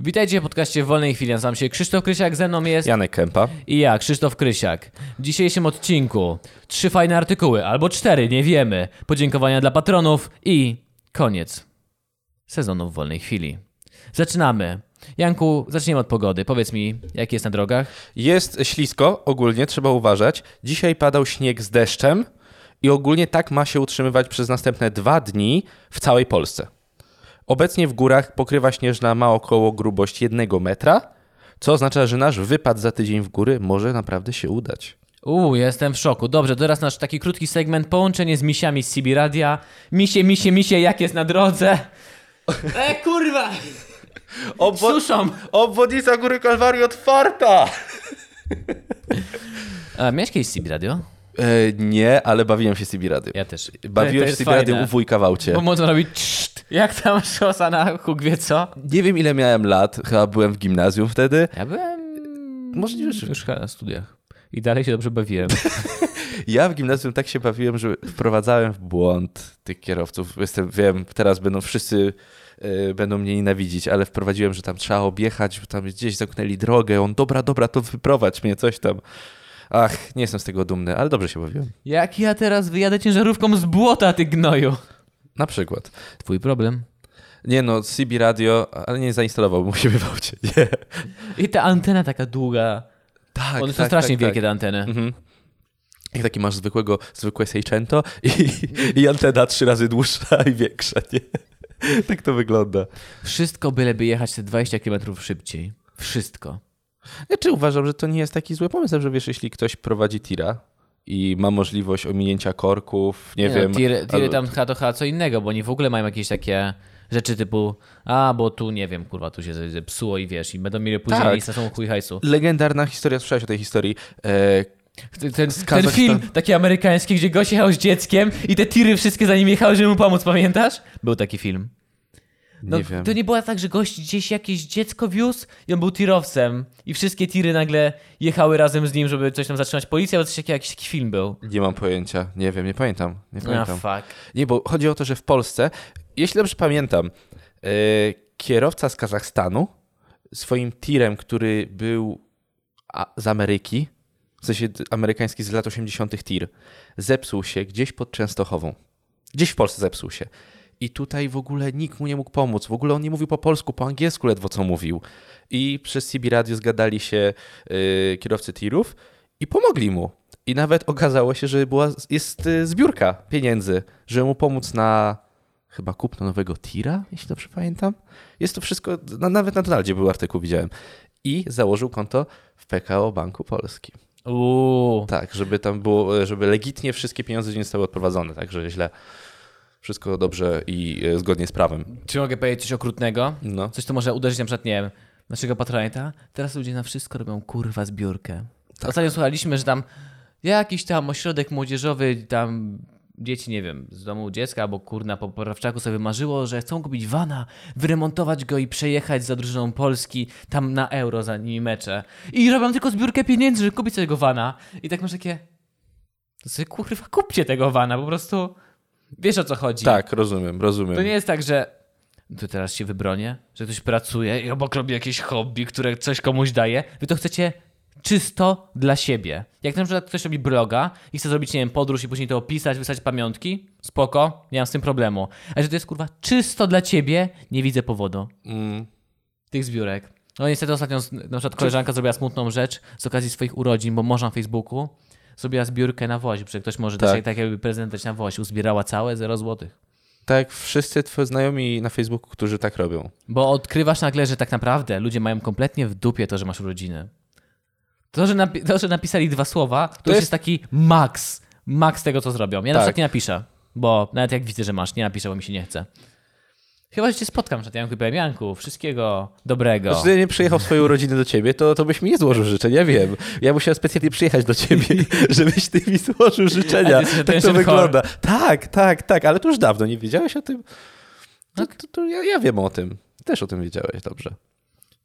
Witajcie w podcaście w Wolnej Chwili. Nazywam się Krzysztof Krysiak, ze mną jest Janek Kępa. i ja, Krzysztof Krysiak. W dzisiejszym odcinku trzy fajne artykuły, albo cztery, nie wiemy. Podziękowania dla patronów i koniec sezonu w Wolnej Chwili. Zaczynamy. Janku, zaczniemy od pogody. Powiedz mi, jak jest na drogach? Jest ślisko, ogólnie trzeba uważać. Dzisiaj padał śnieg z deszczem i ogólnie tak ma się utrzymywać przez następne dwa dni w całej Polsce. Obecnie w górach pokrywa śnieżna ma około grubość jednego metra, co oznacza, że nasz wypad za tydzień w góry może naprawdę się udać. Uuu, jestem w szoku. Dobrze, teraz nasz taki krótki segment, połączenie z misiami z CB Radia. Misie, misie, misie, jak jest na drodze? E, kurwa! Suszą! Obwodnica Góry Kalwarii otwarta! A, miałeś kiedyś CB Radio? E, nie, ale bawiłem się CB Radio. Ja też. Bawiłem się CB Radio u wujka w aucie. Bo można robić czt, jak tam szosa na huk wie co. Nie wiem ile miałem lat, chyba byłem w gimnazjum wtedy. Ja byłem Możliwe, że już chyba na studiach. I dalej się dobrze bawiłem. Ja w gimnazjum tak się bawiłem, że wprowadzałem w błąd tych kierowców. Jestem, wiem, teraz będą wszyscy e, będą mnie nienawidzić, ale wprowadziłem, że tam trzeba objechać, bo tam gdzieś zamknęli drogę. On, dobra, dobra, to wyprowadź mnie, coś tam. Ach, nie jestem z tego dumny, ale dobrze się bawiłem. Jak ja teraz wyjadę ciężarówką z błota, ty gnoju? Na przykład. Twój problem. Nie no, CB Radio, ale nie zainstalował, musimy w aucie. Nie. I ta antena taka długa. Tak, One są strasznie wielkie, te anteny. Mhm. Jak taki masz zwykłego, zwykłe Seicento i, i antena trzy razy dłuższa i większa, nie? Tak to wygląda. Wszystko byleby jechać te 20 km szybciej. Wszystko. Znaczy uważam, że to nie jest taki zły pomysł, że wiesz, jeśli ktoś prowadzi tira i ma możliwość ominięcia korków, nie, no, wiem. Tiry, tiry albo- tam chyba to chyba co innego, bo oni w ogóle mają jakieś takie rzeczy typu a, bo tu, nie wiem, kurwa, tu się ze- zepsuło i wiesz, i będą mieli później Tak. i stracą chuj hajsu. Legendarna historia, słyszałeś o tej historii. E, Ten, ten, ten Kazachstan- film taki amerykański, gdzie gość jechał z dzieckiem i te tiry wszystkie za nim jechały, żeby mu pomóc, pamiętasz? Był taki film. No, nie wiem. To nie było tak, że gość gdzieś jakieś dziecko wiózł i on był tirowcem i wszystkie tiry nagle jechały razem z nim, żeby coś tam zatrzymać policja, bo coś takiego, jakiś taki film był. Nie mam pojęcia, nie wiem, nie pamiętam. Nie Ah, pamiętam. fuck. Nie, bo chodzi o to, że w Polsce, jeśli dobrze pamiętam, e, kierowca z Kazachstanu swoim tirem, który był a, z Ameryki, w sensie d- amerykański z lat 80. tir, zepsuł się gdzieś pod Częstochową. Gdzieś w Polsce zepsuł się. I tutaj w ogóle nikt mu nie mógł pomóc. W ogóle on nie mówił po polsku, po angielsku ledwo co mówił. I przez CB Radio zgadali się y, kierowcy tirów i pomogli mu. I nawet okazało się, że była, jest y, zbiórka pieniędzy, żeby mu pomóc na chyba kupno nowego tira, jeśli dobrze pamiętam. Jest to wszystko, na, nawet na Donaldzie był artykuł, widziałem. I założył konto w PKO Banku Polskim. Uuu. Tak, żeby tam było, żeby legitnie wszystkie pieniądze nie zostały odprowadzone, także źle. Wszystko dobrze i e, zgodnie z prawem. Czy mogę powiedzieć coś okrutnego? No. Coś, co może uderzyć na przykład, nie wiem, naszego patronata. Teraz ludzie na wszystko robią kurwa zbiórkę. Tak. Ostatnio słuchaliśmy, że tam jakiś tam ośrodek młodzieżowy, tam dzieci, nie wiem, z domu dziecka albo kurna po poprawczaku sobie marzyło, że chcą kupić wana, wyremontować go i przejechać za drużyną Polski tam na euro za nimi mecze. I robią tylko zbiórkę pieniędzy, żeby kupić sobie tego wana. I tak masz takie... To sobie kurwa kupcie tego wana, po prostu... Wiesz o co chodzi. Tak, rozumiem, rozumiem. To nie jest tak, że tu teraz się wybronię, że ktoś pracuje i obok robi jakieś hobby, które coś komuś daje. Wy to chcecie czysto dla siebie. Jak na przykład ktoś robi bloga i chce zrobić, nie wiem, podróż i później to opisać, wysłać pamiątki, spoko, nie mam z tym problemu. Ale że to jest, kurwa, czysto dla ciebie, nie widzę powodu Mm, tych zbiórek. No niestety ostatnio z- na przykład koleżanka zrobiła smutną rzecz z okazji swoich urodzin, bo można na Facebooku zrobiła zbiórkę na wozie, że ktoś może Tak. też tak jakby prezent dać na wozie. Uzbierała całe 0 złotych. tak jak wszyscy twoi znajomi na Facebooku, którzy tak robią. Bo odkrywasz nagle, że tak naprawdę ludzie mają kompletnie w dupie to, że masz urodziny. To, że, napi- to, że napisali dwa słowa, to, już jest- jest taki maks. Maks tego, co zrobią. Ja na Tak. przykład nie napiszę, bo nawet jak widzę, że masz, nie napiszę, bo mi się nie chce. Chyba, że cię spotkam przed Janku i powiem, Janku, wszystkiego dobrego. Jeśli ja nie przyjechał w swoje urodziny do ciebie, to, to byś mi nie złożył życzeń, ja wiem. Ja musiałem specjalnie przyjechać do ciebie, żebyś ty mi złożył A życzenia. ty jesteś Tak to attention wygląda. Tak, tak, tak, ale to już dawno, nie wiedziałeś o tym? To, Tak. to, to ja, ja wiem o tym. Też o tym wiedziałeś, dobrze.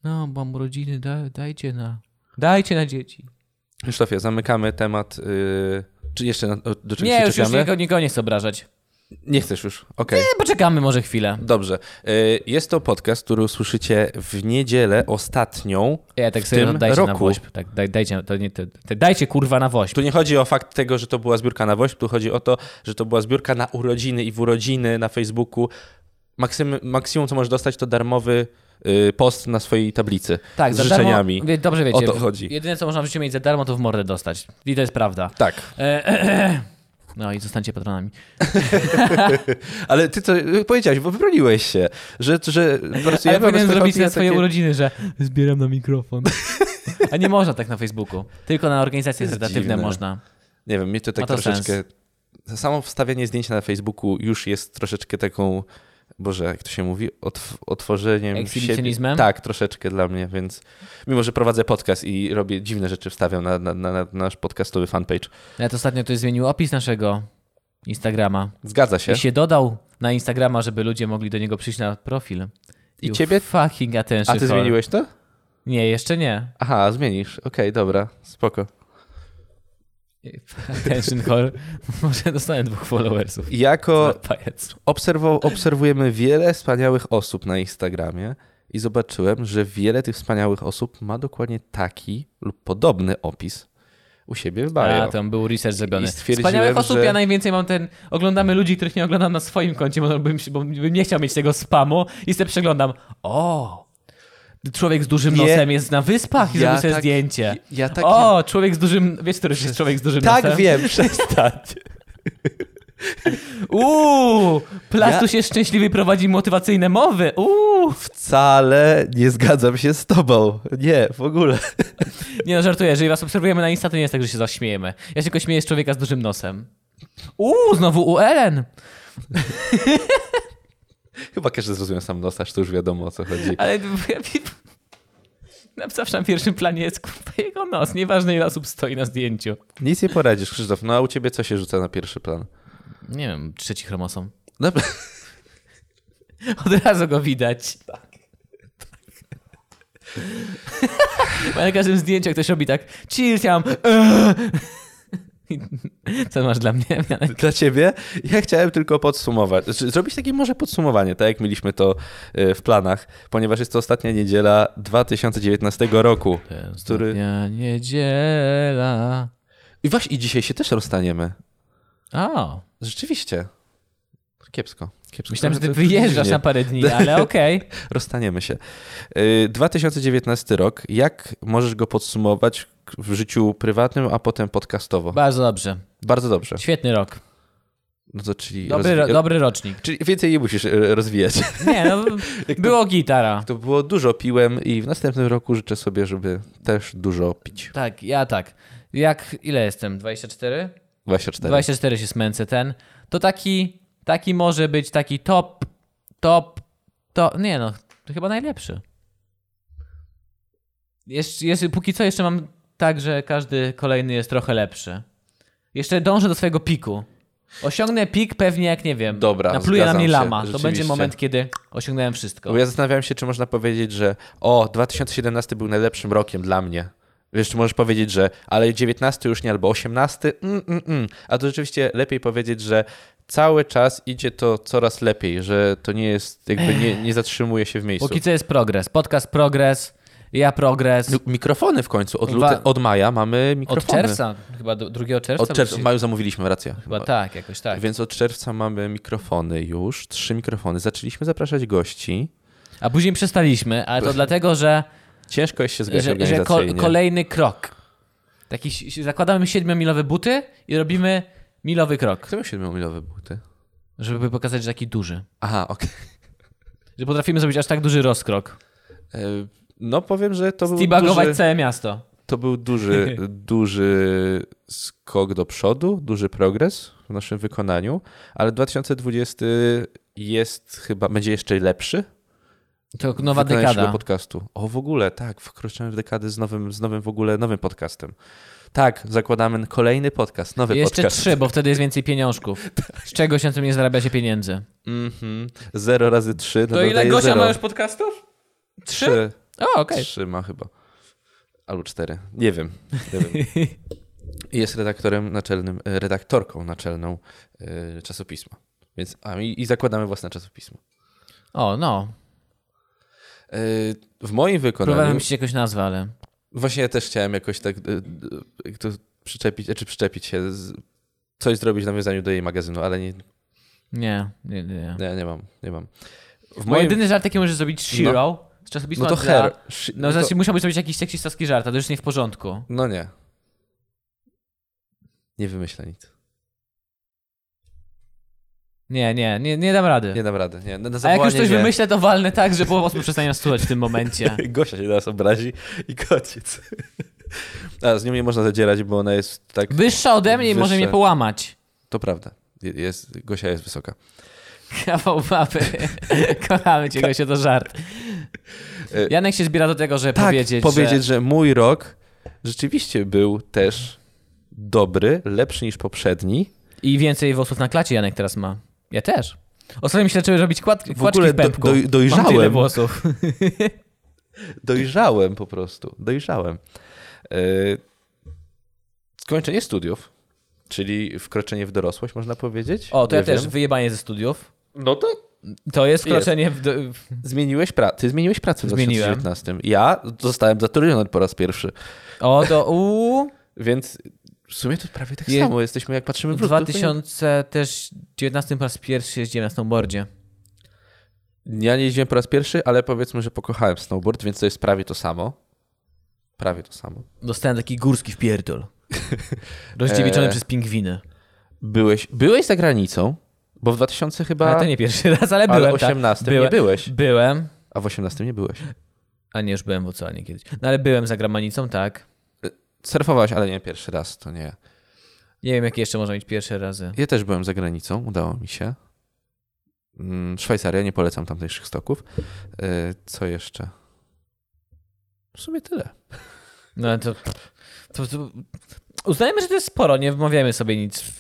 No, mam urodziny, da- dajcie na... Dajcie na dzieci. Krzysztofie, zamykamy temat. y, Czy jeszcze na, o- do czegoś Nie, się już, już czepiamy? nikogo, nikogo nie chcę obrażać. Nie chcesz już, okej. Nie, poczekamy może chwilę. Dobrze. Y, Jest to podcast, który usłyszycie w niedzielę ostatnią. Ja tak W sobie tym dajcie na roku. wośp. Tak, daj, dajcie, to nie, to, to, dajcie kurwa na wośp. Tu nie chodzi o fakt tego, że to była zbiórka na WOŚP, tu chodzi o to, że to była zbiórka na urodziny i w urodziny na Facebooku. Maksym, maksimum, co możesz dostać, to darmowy y, post na swojej tablicy Tak, z za darmo- życzeniami. wie- dobrze wiecie. O to chodzi. Jedyne, co można w życiu mieć za darmo, to w mordę dostać. I to jest prawda. Tak, E, no i zostańcie patronami. ale ty to y, powiedziałeś, bo wybroniłeś się, że, że Ale pracujemy ja powinienem bez zrobić na takie- swoje urodziny, że zbieram na mikrofon. A nie można tak na Facebooku. Tylko na organizacje Jest charytatywne dziwne. można. Nie wiem, mnie to tak Ma to troszeczkę. Samo wstawianie zdjęcia na Facebooku już jest troszeczkę taką. Boże, jak to się mówi? Otw- otworzeniem siebie. Ekshibicjonizmem? Tak, troszeczkę dla mnie, więc mimo, że prowadzę podcast i robię dziwne rzeczy, wstawiam na, na, na, na nasz podcastowy fanpage. Nawet ostatnio ktoś zmienił opis naszego Instagrama. Zgadza się. I się dodał na Instagrama, żeby ludzie mogli do niego przyjść na profil. I You ciebie? Fucking A attention. ty whore. zmieniłeś to? Nie, jeszcze nie. Aha, zmienisz. Okej, dobra, spoko. Attention whore. Może dostałem dwóch followersów. Jako Pajac. obserwo- obserwujemy wiele wspaniałych osób na Instagramie i zobaczyłem, że wiele tych wspaniałych osób ma dokładnie taki lub podobny opis u siebie w bio. A, tam był research zrobiony. I stwierdziłem, Wspaniałych osób, że- ja najwięcej mam ten... Oglądamy ludzi, których nie oglądam na swoim koncie, bo bym, się- bo bym nie chciał mieć tego spamu i sobie przeglądam. O! Człowiek z dużym Nie. nosem jest na wyspach i zrobił sobie zdjęcie. Ja tak, O, człowiek z dużym... Wiesz, który jest człowiek z dużym nosem? tak wiem, przestań. Uuu! Plastus jest szczęśliwy, prowadzi motywacyjne mowy. Uuu! Wcale nie zgadzam się z tobą. Nie, w ogóle. Nie no, żartuję, jeżeli was obserwujemy na Insta, to nie jest tak, że się zaśmiejemy. Ja się tylko śmieję z człowieka z dużym nosem. Uuu, znowu u Ellen! Chyba każdy zrozumiał sam dostarz, to już wiadomo o co chodzi. Ale na zawsze na pierwszym planie jest kurwa jego nos. Nieważne ile osób stoi na zdjęciu. Nic nie poradzisz, Krzysztof. No a u ciebie co się rzuca na pierwszy plan? Nie wiem, trzeci chromosom. Dobra. Od razu go widać. Tak. Bo na każdym zdjęciu jak ktoś robi tak chill, ja mam... Co masz dla mnie, Janek? Dla ciebie? Ja chciałem tylko podsumować. Znaczy, zrobić takie może podsumowanie, tak jak mieliśmy to e, w planach, ponieważ jest to ostatnia niedziela 2019 roku. Który- Ostatnia E, niedziela. I właśnie i dzisiaj się też rozstaniemy. O, Rzeczywiście. Kiepsko. Kiepsko. myślałem, że ty To- to wyjeżdżasz dziwnie. na parę dni, ale okej. Rozstaniemy się. Y, 2019 rok. Jak możesz go podsumować w życiu prywatnym, a potem podcastowo? Bardzo dobrze. Bardzo dobrze. Świetny rok. No to czyli. Dobry, rozwi- ro, dobry rocznik. Czyli więcej nie musisz y, rozwijać. Nie, no, Jak to- było gitara. To było dużo piłem i w następnym roku życzę sobie, żeby też dużo pić. Tak, ja tak. Jak, ile jestem? 24? 24. 24 się smęcę ten. To taki, taki może być taki top, top, to nie no, to chyba najlepszy. Jeszcze, jeszcze, póki co jeszcze mam tak, że każdy kolejny jest trochę lepszy. Jeszcze dążę do swojego piku. Osiągnę pik pewnie, jak nie wiem. Dobra, Napluje na zgadzam mnie się, lama. To będzie rzeczywiście. moment, kiedy osiągnąłem wszystko. Bo ja zastanawiałem się, czy można powiedzieć, że o, 2017 był najlepszym rokiem dla mnie. Wiesz, czy możesz powiedzieć, że ale 19 już nie, albo 18, mm, mm, mm. a to rzeczywiście lepiej powiedzieć, że cały czas idzie to coraz lepiej, że to nie jest, jakby nie, nie zatrzymuje się w miejscu. Póki co jest progres. Podcast progres, ja progres. No, Mikrofony w końcu, od, Wa- lute, od maja mamy Od mikrofony. czerwca, chyba do, 2 czerwca. Od czerwca, bo w się- maju zamówiliśmy, racja. Chyba tak, jakoś tak. Więc od czerwca mamy mikrofony już, trzy mikrofony. Zaczęliśmy zapraszać gości. A później przestaliśmy, ale to dlatego, że, Ciężko jest się zgadzać że, że ko- organizacyjnie. kolejny krok. Taki, si- si- zakładamy siedmiomilowe buty i robimy milowy krok, Kto miał siedmiomilowe buty? żeby pokazać, że taki duży. Aha, okej. Że potrafimy zrobić aż tak duży rozkrok. E, No powiem, że to był Steabagować duży, całe miasto. to był duży, duży skok do przodu, duży progres w naszym wykonaniu, ale 2020 jest chyba, będzie jeszcze lepszy. To nowa wykonanie naszego dekada. podcastu. O, w ogóle, tak, wkroczymy w dekadę z nowym, z nowym w ogóle, nowym podcastem. Tak, zakładamy kolejny podcast, nowy Jeszcze podcast. trzy, bo wtedy jest więcej pieniążków. Z czegoś, na czym nie zarabia się pieniędzy. Mhm. Zero razy trzy. no daje zero. podcastów? Trzy? Trzy. O, okej. Trzy ma chyba. Albo cztery. Nie wiem. Nie wiem. Jest redaktorem naczelnym, e, redaktorką naczelną e, czasopisma. Więc, a, i, i zakładamy własne czasopismo. O, no. E, w Próbowałem moim wykonaniu... mi się jakoś nazwę, ale. Właśnie ja też chciałem jakoś tak e, e, jak to przyczepić, czy przyczepić się, z, coś zrobić w nawiązaniu do jej magazynu, ale nie, no Nie, nie, nie. nie. nie, nie mam, nie mam. W Moim... jedyny żart, jaki możesz zrobić, Shiro. Z czasopisma No to dla- her. Szy- No, to- znaczy, musiałbyś zrobić jakiś seksistowski żart, a to już nie w porządku. No nie. Nie wymyślę nic. Nie, nie, nie, nie dam rady. Nie dam rady. Nie. Na, na a jak już coś że... wymyślę, to walnę tak, że połowa osób przestanie nas słuchać w tym momencie. Gosia się teraz obrazi i kociec. A, z nią nie można zadzierać, bo ona jest tak... Wyższa ode mnie i może Wyższe. mnie połamać. To prawda. Je- Jest, Gosia jest wysoka. Tak, Kawał baby. Kochamy cię, się to żart. E, Janek się zbiera do tego, żeby Tak, powiedzieć, że... mój rok rzeczywiście był też dobry, lepszy niż poprzedni. że... I więcej włosów na klacie Janek teraz ma. Ja też. Ostatnio mi się zaczęły robić kład... W kłaczki ogóle w do- pępku. doj- Mam tyle dojrzałem. włosów. Dojrzałem po prostu. Dojrzałem. E, Skończenie studiów, czyli wkroczenie w dorosłość, można powiedzieć. O, to ja Nie też wiem. wyjebanie ze studiów. No to To jest wkroczenie w... do- zmieniłeś pracę. Ty zmieniłeś pracę w Zmieniłem. 2019. Ja zostałem zatrudniony po raz pierwszy. O, to u Więc w sumie to prawie tak Je- samo jesteśmy, jak patrzymy W w lód, to- to nie- 2019 po raz pierwszy jeździłem na snowboardzie. Ja nie jeździłem po raz pierwszy, ale powiedzmy, że pokochałem snowboard, więc to jest prawie to samo. Prawie to samo. Dostałem taki górski wpierdol. Rozdziewiczony Eee. przez pingwiny. Byłeś, byłeś za granicą, bo w 2000 chyba, Ale to ale, nie pierwszy raz, ale byłem. 18 tak. byłem, nie byłeś, Byłem, byłem, a w 18 nie byłeś. a nie już byłem w oceanie kiedyś. No ale byłem za gramanicą, tak. Surfowałeś, ale nie pierwszy raz, to nie. Nie wiem, jakie jeszcze można mieć pierwsze razy. Ja też byłem za granicą, udało mi się. Mm, Szwajcaria, nie polecam tamtejszych stoków. E, Co jeszcze? W sumie tyle. No ale to, to, to. Uznajemy, że to jest sporo, nie wmawiamy sobie nic.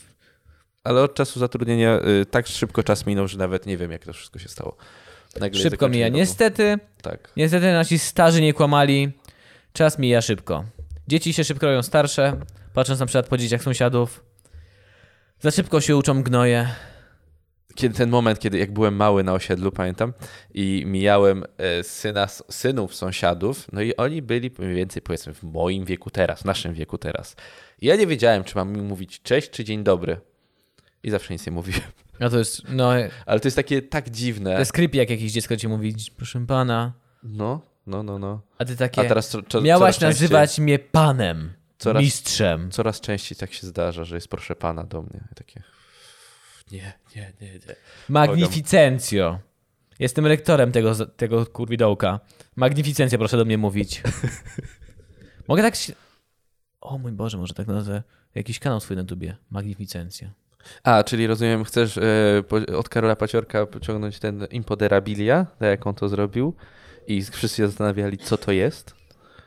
Ale od czasu zatrudnienia y, tak szybko czas minął, że nawet nie wiem, jak to wszystko się stało. Nagle jest Szybko zakończenie mija. roku. Niestety, Tak. niestety nasi starzy nie kłamali. Czas mija szybko. Dzieci się szybko robią starsze, patrząc na przykład po dzieciach sąsiadów. Za szybko się uczą gnoje. kiedy, ten moment, kiedy jak byłem mały na osiedlu, pamiętam, i mijałem e, syna, synów sąsiadów, no i oni byli mniej więcej, powiedzmy, w moim wieku teraz, w naszym wieku teraz. I ja nie wiedziałem, czy mam im mówić cześć, czy dzień dobry. I zawsze nic nie mówiłem. No to jest, no, Ale to jest takie tak dziwne. to jest creepy, jak jakieś dziecko ci mówi, proszę pana, No, no, no, no. a ty A takie, teraz co, co, miałaś coraz nazywać mnie panem, Coraz- mistrzem. Częściej, coraz częściej tak się zdarza, że jest proszę pana do mnie. I Takie... Nie, nie, nie, nie. Magnificencjo. Jestem rektorem tego, z- tego kurwidołka. Magnificencjo, proszę do mnie mówić. Mogę tak się... O mój Boże, może tak nazwę jakiś kanał swój na tubie. Magnificencja. A, czyli rozumiem, chcesz e, po, od Karola Paciorka pociągnąć ten Impoderabilia, tak jak on to zrobił i wszyscy się zastanawiali, co to jest.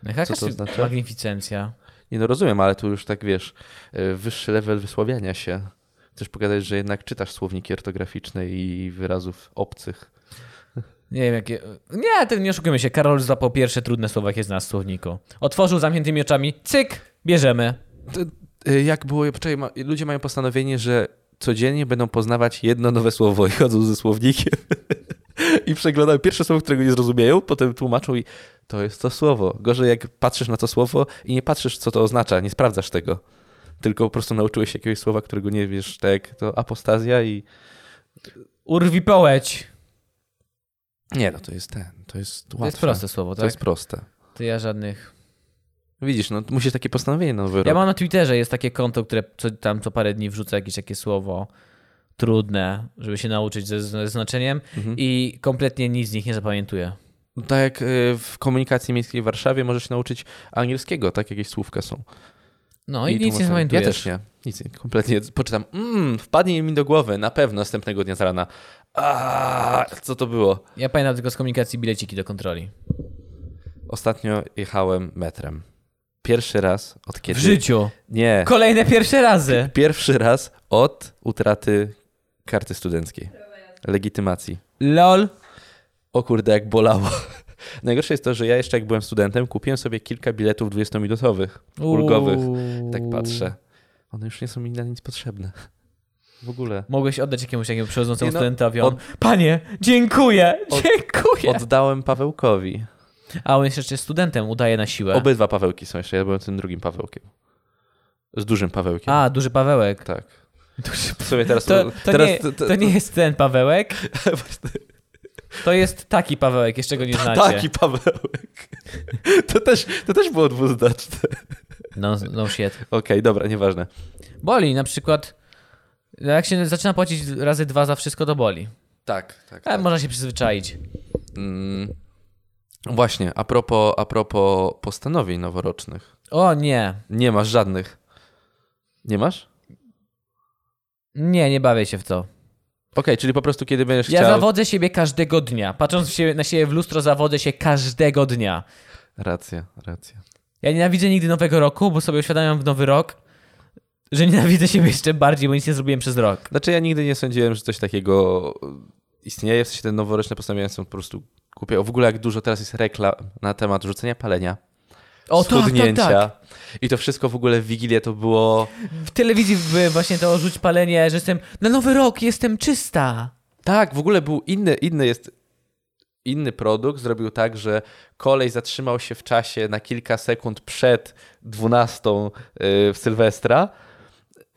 Jaka Co to jest znaczy? No Magnificencja. Nie no, rozumiem, ale tu już tak, wiesz, e, wyższy level wysławiania się. Chcesz pokazać, że jednak czytasz słowniki ortograficzne i wyrazów obcych. Nie wiem, jakie. Nie, ty nie oszukujmy się. Karol złapał pierwsze trudne słowa, jakie zna w słowniku. Otworzył zamkniętymi oczami. Cyk! Bierzemy. E, jak było, poczekaj, ma, ludzie mają postanowienie, że codziennie będą poznawać jedno nowe słowo i chodzą ze słownikiem i przeglądają pierwsze słowo, którego nie zrozumieją, potem tłumaczą i to jest to słowo. Gorzej jak patrzysz na to słowo i nie patrzysz, co to oznacza, nie sprawdzasz tego. Tylko po prostu nauczyłeś się jakiegoś słowa, którego nie wiesz, tak jak to apostazja i... Urwi połeć. Nie, no to jest ten, to jest łatwe. To jest proste słowo, To tak? jest proste. To ja żadnych. Widzisz, no musisz takie postanowienie nowy Ja wyrobić. mam na Twitterze jest takie konto, które co, tam co parę dni wrzuca jakieś takie słowo trudne, żeby się nauczyć ze, ze znaczeniem Mhm. i kompletnie nic z nich nie zapamiętuję. Tak jak y, w komunikacji miejskiej w Warszawie możesz się nauczyć angielskiego, tak jakieś słówka są. No i, nic nie tłumaczenie. zapamiętujesz. Ja też nie. Nic nie. Kompletnie poczytam. Mm, wpadnie mi do głowy na pewno następnego dnia z rana. A, co to było? Ja pamiętam tylko z komunikacji bileciki do kontroli. Ostatnio jechałem metrem. Pierwszy raz od W kiedy? życiu. Nie. Kolejne pierwsze razy. Pierwszy raz od utraty karty studenckiej. Legitymacji. LOL. O kurde, jak bolało. Najgorsze jest to, że ja jeszcze jak byłem studentem, kupiłem sobie kilka biletów 20-minutowych, ulgowych. Tak Uuu. patrzę. One już nie są mi na nic potrzebne. w ogóle. Mogłeś oddać jakiemuś takiemu przechodzącemu Nie no, studentowi. On... od- Panie, dziękuję, Od- dziękuję. Oddałem Pawełkowi. A on jest jeszcze studentem, udaje na siłę. Obydwa Pawełki są jeszcze, ja byłem tym drugim Pawełkiem. Z dużym Pawełkiem. A, duży Pawełek. Tak. Duży... W sumie teraz... To, to, teraz nie, to nie jest ten Pawełek, to jest taki Pawełek, jeszcze go nie znacie. Taki Pawełek. To też, to też było dwuznaczne. No, no shit. Okej, dobra, nieważne. Boli na przykład. no Jak się zaczyna płacić razy dwa za wszystko, to boli. Tak, tak. Ale można się przyzwyczaić. Mm, właśnie, a propos, a propos postanowień noworocznych. O nie. Nie masz żadnych. Nie masz? Nie, nie bawię się w to. Okej, czyli po prostu kiedy będziesz Ja chciał... zawodzę siebie każdego dnia. Patrząc w siebie, na siebie w lustro, zawodzę się każdego dnia. Racja, racja. Ja nienawidzę nigdy nowego roku, bo sobie uświadamiam w nowy rok, że nienawidzę siebie jeszcze bardziej, bo nic nie zrobiłem przez rok. Znaczy ja nigdy nie sądziłem, że coś takiego istnieje, w sensie te noworoczne postanowienia są po prostu głupie. O, W ogóle jak dużo teraz jest reklam na temat rzucenia palenia, O, tak, tak, schudnięcia. tak. I to wszystko w ogóle w Wigilię to było... W telewizji by właśnie to rzuć palenie, że jestem na nowy rok, jestem czysta. Tak, w ogóle był inny, inny jest inny produkt, zrobił tak, że kolej zatrzymał się w czasie na kilka sekund przed 12 w Sylwestra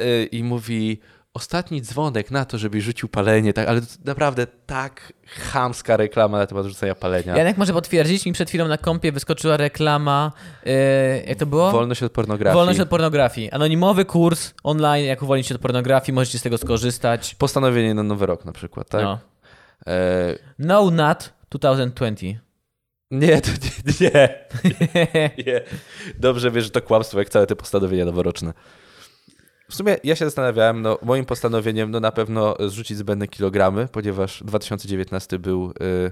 y, i mówi ostatni dzwonek na to, żeby rzucił palenie, tak, ale to naprawdę tak chamska reklama na temat rzucenia palenia. Janek może potwierdzić, mi przed chwilą na kompie wyskoczyła reklama, yy, jak to było? Wolność od pornografii. Wolność od pornografii. Anonimowy kurs online, jak uwolnić się od pornografii, możecie z tego skorzystać. Postanowienie na Nowy Rok na przykład, tak? No. E, no Nut 2020. nie, to nie, nie, nie. Dobrze wiesz, że to kłamstwo, jak całe te postanowienia noworoczne. W sumie ja się zastanawiałem, no moim postanowieniem no na pewno zrzucić zbędne kilogramy, ponieważ 2019 był y,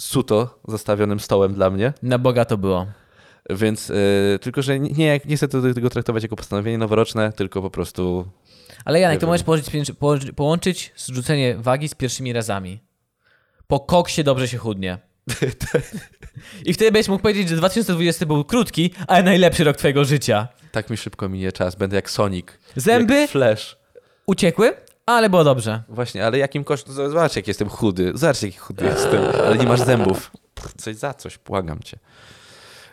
suto zastawionym stołem dla mnie, Na Boga to było. więc y, tylko, że nie, nie chcę tego tego traktować jako postanowienie noworoczne, tylko po prostu Ale Janek, Nie to wiem. możesz położyć, pięć- położyć- połączyć zrzucenie wagi z pierwszymi razami. Po koksie dobrze się chudnie. I wtedy będziesz mógł powiedzieć, że 2020 był krótki, ale najlepszy rok twojego życia. tak mi szybko minie czas, będę jak Sonic. Zęby Jak flash. uciekły, ale było dobrze. Właśnie, ale jakim kosztem? Zobacz, jak jestem chudy. Zobacz, jaki chudy jestem, ale nie masz zębów. Pff, Coś za coś, błagam cię.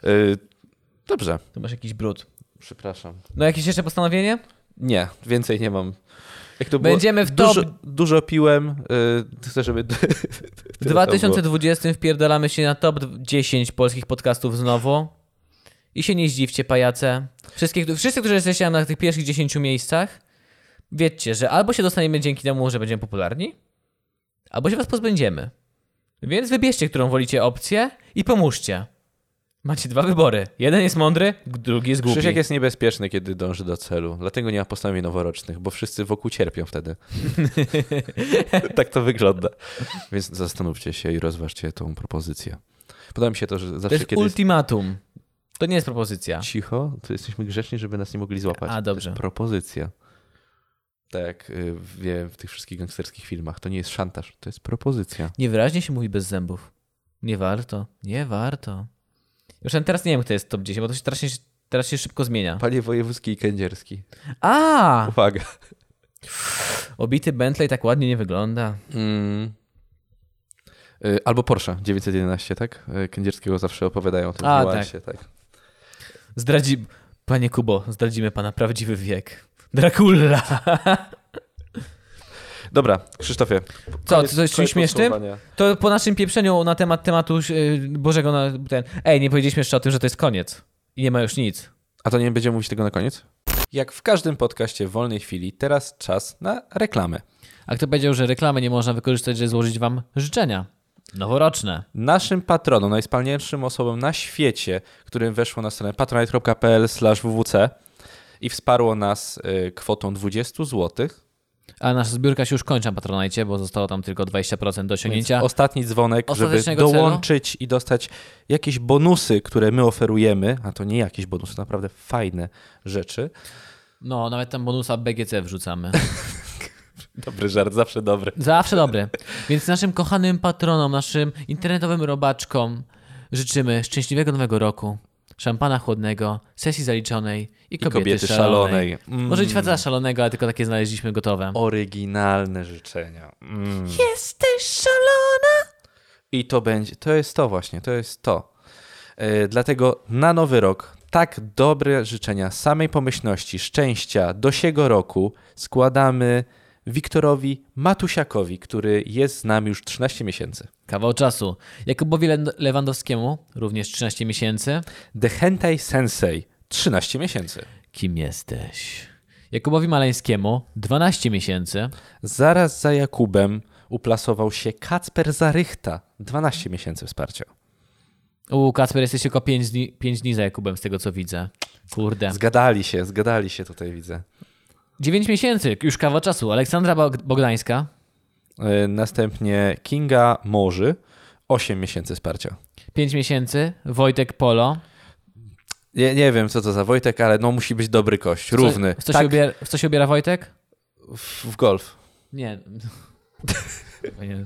Yy, dobrze, Tu masz jakiś brud. przepraszam. No jakieś jeszcze postanowienie? Nie, więcej nie mam. Jak to Będziemy w Dużo, top- dużo piłem. Yy, chcę, żeby... tyle W tam 2020 wpierdalamy się na top 10 polskich podcastów znowu. I się nie zdziwcie, pajace. Wszystkie, wszyscy, którzy jesteście na tych pierwszych 10 miejscach, wiedzcie, że albo się dostaniemy dzięki temu, że będziemy popularni, albo się was pozbędziemy. Więc wybierzcie, którą wolicie opcję i pomóżcie. Macie dwa wybory. Jeden jest mądry, drugi jest było. głupi. Krzysiek jest niebezpieczny, kiedy dąży do celu. Dlatego nie ma postanowień noworocznych, bo wszyscy wokół cierpią wtedy. tak to wygląda. Więc zastanówcie się i rozważcie tą propozycję. Podoba mi się to, że to zawsze jest kiedy... jest- ultimatum. To nie jest propozycja. Cicho, to jesteśmy grzeczni, żeby nas nie mogli złapać. A, dobrze. To jest propozycja. Tak jak y, wiem w tych wszystkich gangsterskich filmach. To nie jest szantaż, to jest propozycja. Niewyraźnie się mówi bez zębów. Nie warto, nie warto. Już nawet teraz nie wiem, kto jest top 10, bo to się teraz, się, teraz się szybko zmienia. Panie wojewódzki i kędzierski. A! Uwaga. Obity Bentley tak ładnie nie wygląda. Mm. Y, Albo Porsche 911, tak? Y, Kędzierskiego zawsze opowiadają o tym A, niuansie, tak. Zdradzi... Panie Kubo, zdradzimy pana prawdziwy wiek. Dracula! Dobra, Krzysztofie. Co, to coś śmiesznym? To po naszym pieprzeniu na temat tematu yy, Bożego... Na, ten... Ej, nie powiedzieliśmy jeszcze o tym, że to jest koniec. I nie ma już nic. A to nie będziemy mówić tego na koniec? Jak w każdym podcaście w wolnej chwili, teraz czas na reklamę. A kto powiedział, że reklamy nie można wykorzystać, żeby złożyć wam życzenia? Noworoczne. Naszym patronom, najwspanialszym osobom na świecie, którym weszło na stronę patronite.pl/wwc i wsparło nas y, kwotą 20 zł. A nasza zbiórka się już kończy na Patronite, bo zostało tam tylko 20% do osiągnięcia. Ostatni dzwonek, żeby Ostatecznego dołączyć i dostać jakieś bonusy, które my oferujemy, a to nie jakieś bonusy, naprawdę fajne rzeczy. No, nawet tam bonusa BGC wrzucamy. Dobry żart, zawsze dobry. Zawsze dobry. Więc naszym kochanym patronom, naszym internetowym robaczkom życzymy szczęśliwego nowego roku, szampana chłodnego, sesji zaliczonej i kobiety, kobiety szalonej. szalonej. Mm. Może i ćwiartca szalonego, ale tylko takie znaleźliśmy gotowe. Oryginalne życzenia. Mm. Jesteś szalona! I to będzie, to jest to właśnie, to jest to. E, Dlatego na nowy rok tak dobre życzenia samej pomyślności, szczęścia do siego roku składamy Wiktorowi Matusiakowi, który jest z nami już 13 miesięcy. Kawał czasu. Jakubowi Le- Lewandowskiemu również 13 miesięcy. The Hentai Sensei 13 miesięcy. Kim jesteś? Jakubowi Maleńskiemu 12 miesięcy. Zaraz za Jakubem uplasował się Kacper Zarychta 12 miesięcy wsparcia. U Kacper jesteś tylko 5 dni, pięć dni za Jakubem, z tego co widzę. Kurde. Zgadali się, zgadali się tutaj widzę. 9 miesięcy, już kawał czasu. Aleksandra Bog- Bogdańska, E, Następnie Kinga Morzy 8 miesięcy wsparcia. 5 miesięcy. Wojtek Polo. Nie, nie wiem, co to za Wojtek, ale no musi być dobry kość, równy. W co, tak, się ubiera, w co się ubiera Wojtek? w, w golf. Nie. Chyba nie.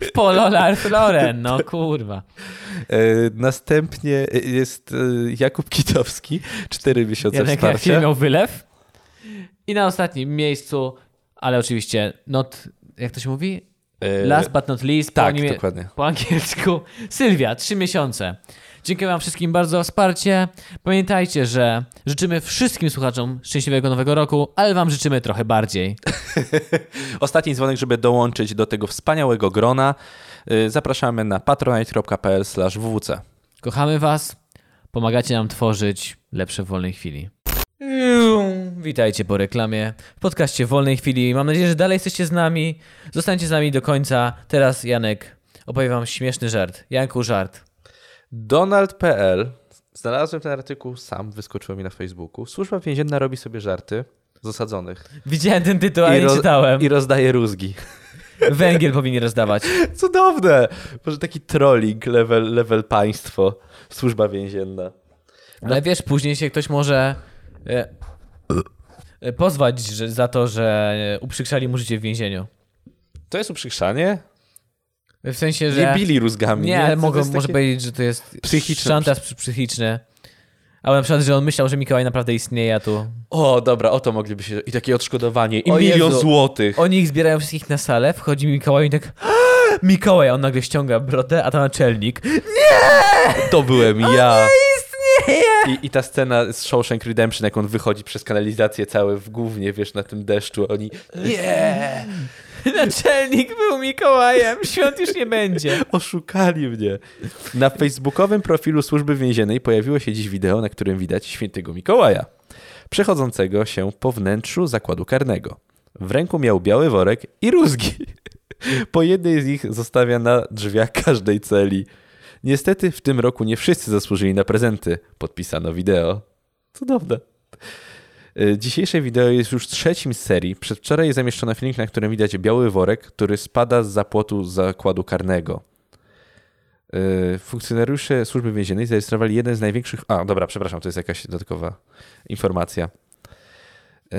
W Polo Larf Loren, no kurwa. E, następnie jest e, Jakub Kitowski, 4 miesiące Janek wsparcia. Jarfiel miał wylew. I na ostatnim miejscu, ale oczywiście not, jak to się mówi? E, Last but not least, po, tak, animi- dokładnie. po angielsku, Sylwia, trzy miesiące. Dziękuję wam wszystkim bardzo za wsparcie. Pamiętajcie, że życzymy wszystkim słuchaczom szczęśliwego nowego roku, ale wam życzymy trochę bardziej. Ostatni dzwonek, żeby dołączyć do tego wspaniałego grona. E, zapraszamy na patronite.pl wwc. Kochamy Was, pomagacie nam tworzyć lepsze w wolnej chwili. Witajcie po reklamie w podcaście Wolnej Chwili. Mam nadzieję, że dalej jesteście z nami. Zostańcie z nami do końca. Teraz Janek, opowiem wam śmieszny żart. Janku, żart. Donald.pl Znalazłem ten artykuł, sam wyskoczyło mi na Facebooku. Służba więzienna robi sobie żarty z osadzonych. Widziałem ten tytuł, ale I nie roz- czytałem. I rozdaje rózgi. Węgiel powinni rozdawać. Cudowne! Może taki trolling level, level państwo, służba więzienna. Ale wiesz, później się ktoś może e, e, pozwać że, za to, że e, uprzykrzali mu życie w więzieniu. To jest uprzykrzanie? W sensie, że... Nie bili rózgami. Nie, ale To mogą, jest może takie- powiedzieć, że to jest Psychiczne. szantaż psy- psychiczny. Albo na przykład, że on myślał, że Mikołaj naprawdę istnieje, a tu... O, dobra, o to mogliby się... I takie odszkodowanie, i O milion Jezu. złotych. Oni ich zbierają wszystkich na salę, wchodzi Mikołaj i tak... Mikołaj, a on nagle ściąga brodę, a tam naczelnik. To byłem ja. Istnieje! I, I ta scena z Shawshank Redemption, jak on wychodzi przez kanalizację cały w głównie, wiesz, na tym deszczu, oni... Nie! Naczelnik był Mikołajem, świąt już nie będzie. Oszukali mnie. Na facebookowym profilu Służby Więziennej pojawiło się dziś wideo, na którym widać świętego Mikołaja, przechodzącego się po wnętrzu zakładu karnego. W ręku miał biały worek i rózgi. Po jednej z nich zostawia na drzwiach każdej celi. Niestety w tym roku nie wszyscy zasłużyli na prezenty. Podpisano wideo. Cudowne. Y, Dzisiejsze wideo jest już trzecim z serii. Przedwczoraj zamieszczono filmik, na którym widać biały worek, który spada z zapłotu zakładu karnego. Y, Funkcjonariusze służby więziennej zarejestrowali jeden z największych. A, dobra, przepraszam, to jest jakaś dodatkowa informacja. Y,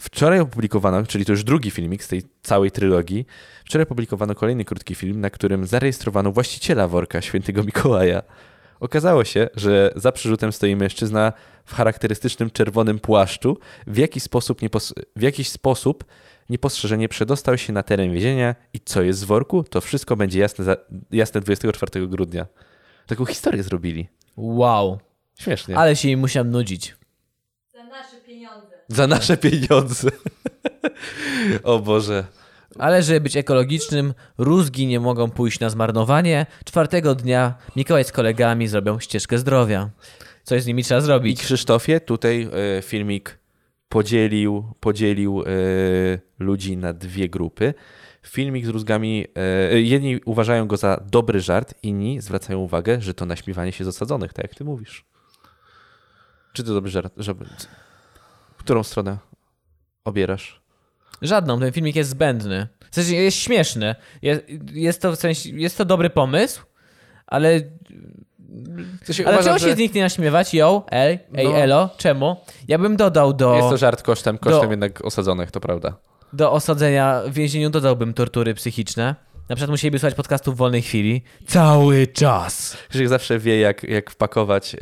Wczoraj opublikowano, czyli to już drugi filmik z tej całej trylogii. Wczoraj opublikowano kolejny krótki film, na którym zarejestrowano właściciela worka świętego Mikołaja. Okazało się, że za przerzutem stoi mężczyzna w charakterystycznym czerwonym płaszczu, w, jaki sposób niepos- w jakiś sposób niepostrzeżenie przedostał się na teren więzienia i co jest z worku, to wszystko będzie jasne, za- jasne 24 grudnia. Taką historię zrobili. Wow, Śmiesznie. ale się im musiałem nudzić. Za nasze pieniądze. Za nasze pieniądze. o Boże. Ale żeby być ekologicznym, rózgi nie mogą pójść na zmarnowanie. Czwartego dnia Mikołaj z kolegami zrobią ścieżkę zdrowia. Coś z nimi trzeba I zrobić. Krzysztofie tutaj e, filmik podzielił, podzielił e, ludzi na dwie grupy. Filmik z rózgami, e, jedni uważają go za dobry żart, inni zwracają uwagę, że to naśmiewanie się z osadzonych, tak jak ty mówisz. Czy to dobry żart? Żeby, którą stronę obierasz? Żadną, ten filmik jest zbędny. W sensie jest śmieszny. Jest, jest to w sensie, jest to dobry pomysł, ale, ale czemu się z nich nie naśmiewać? Yo, ej, ej, No. elo, czemu? Ja bym dodał Jest to do, żart kosztem, kosztem Do- jednak osadzonych, to prawda. do osadzenia w więzieniu, dodałbym tortury psychiczne. Na przykład musieliby słuchać podcastu w wolnej chwili. Cały czas. Krzysiek zawsze wie, jak, jak wpakować e,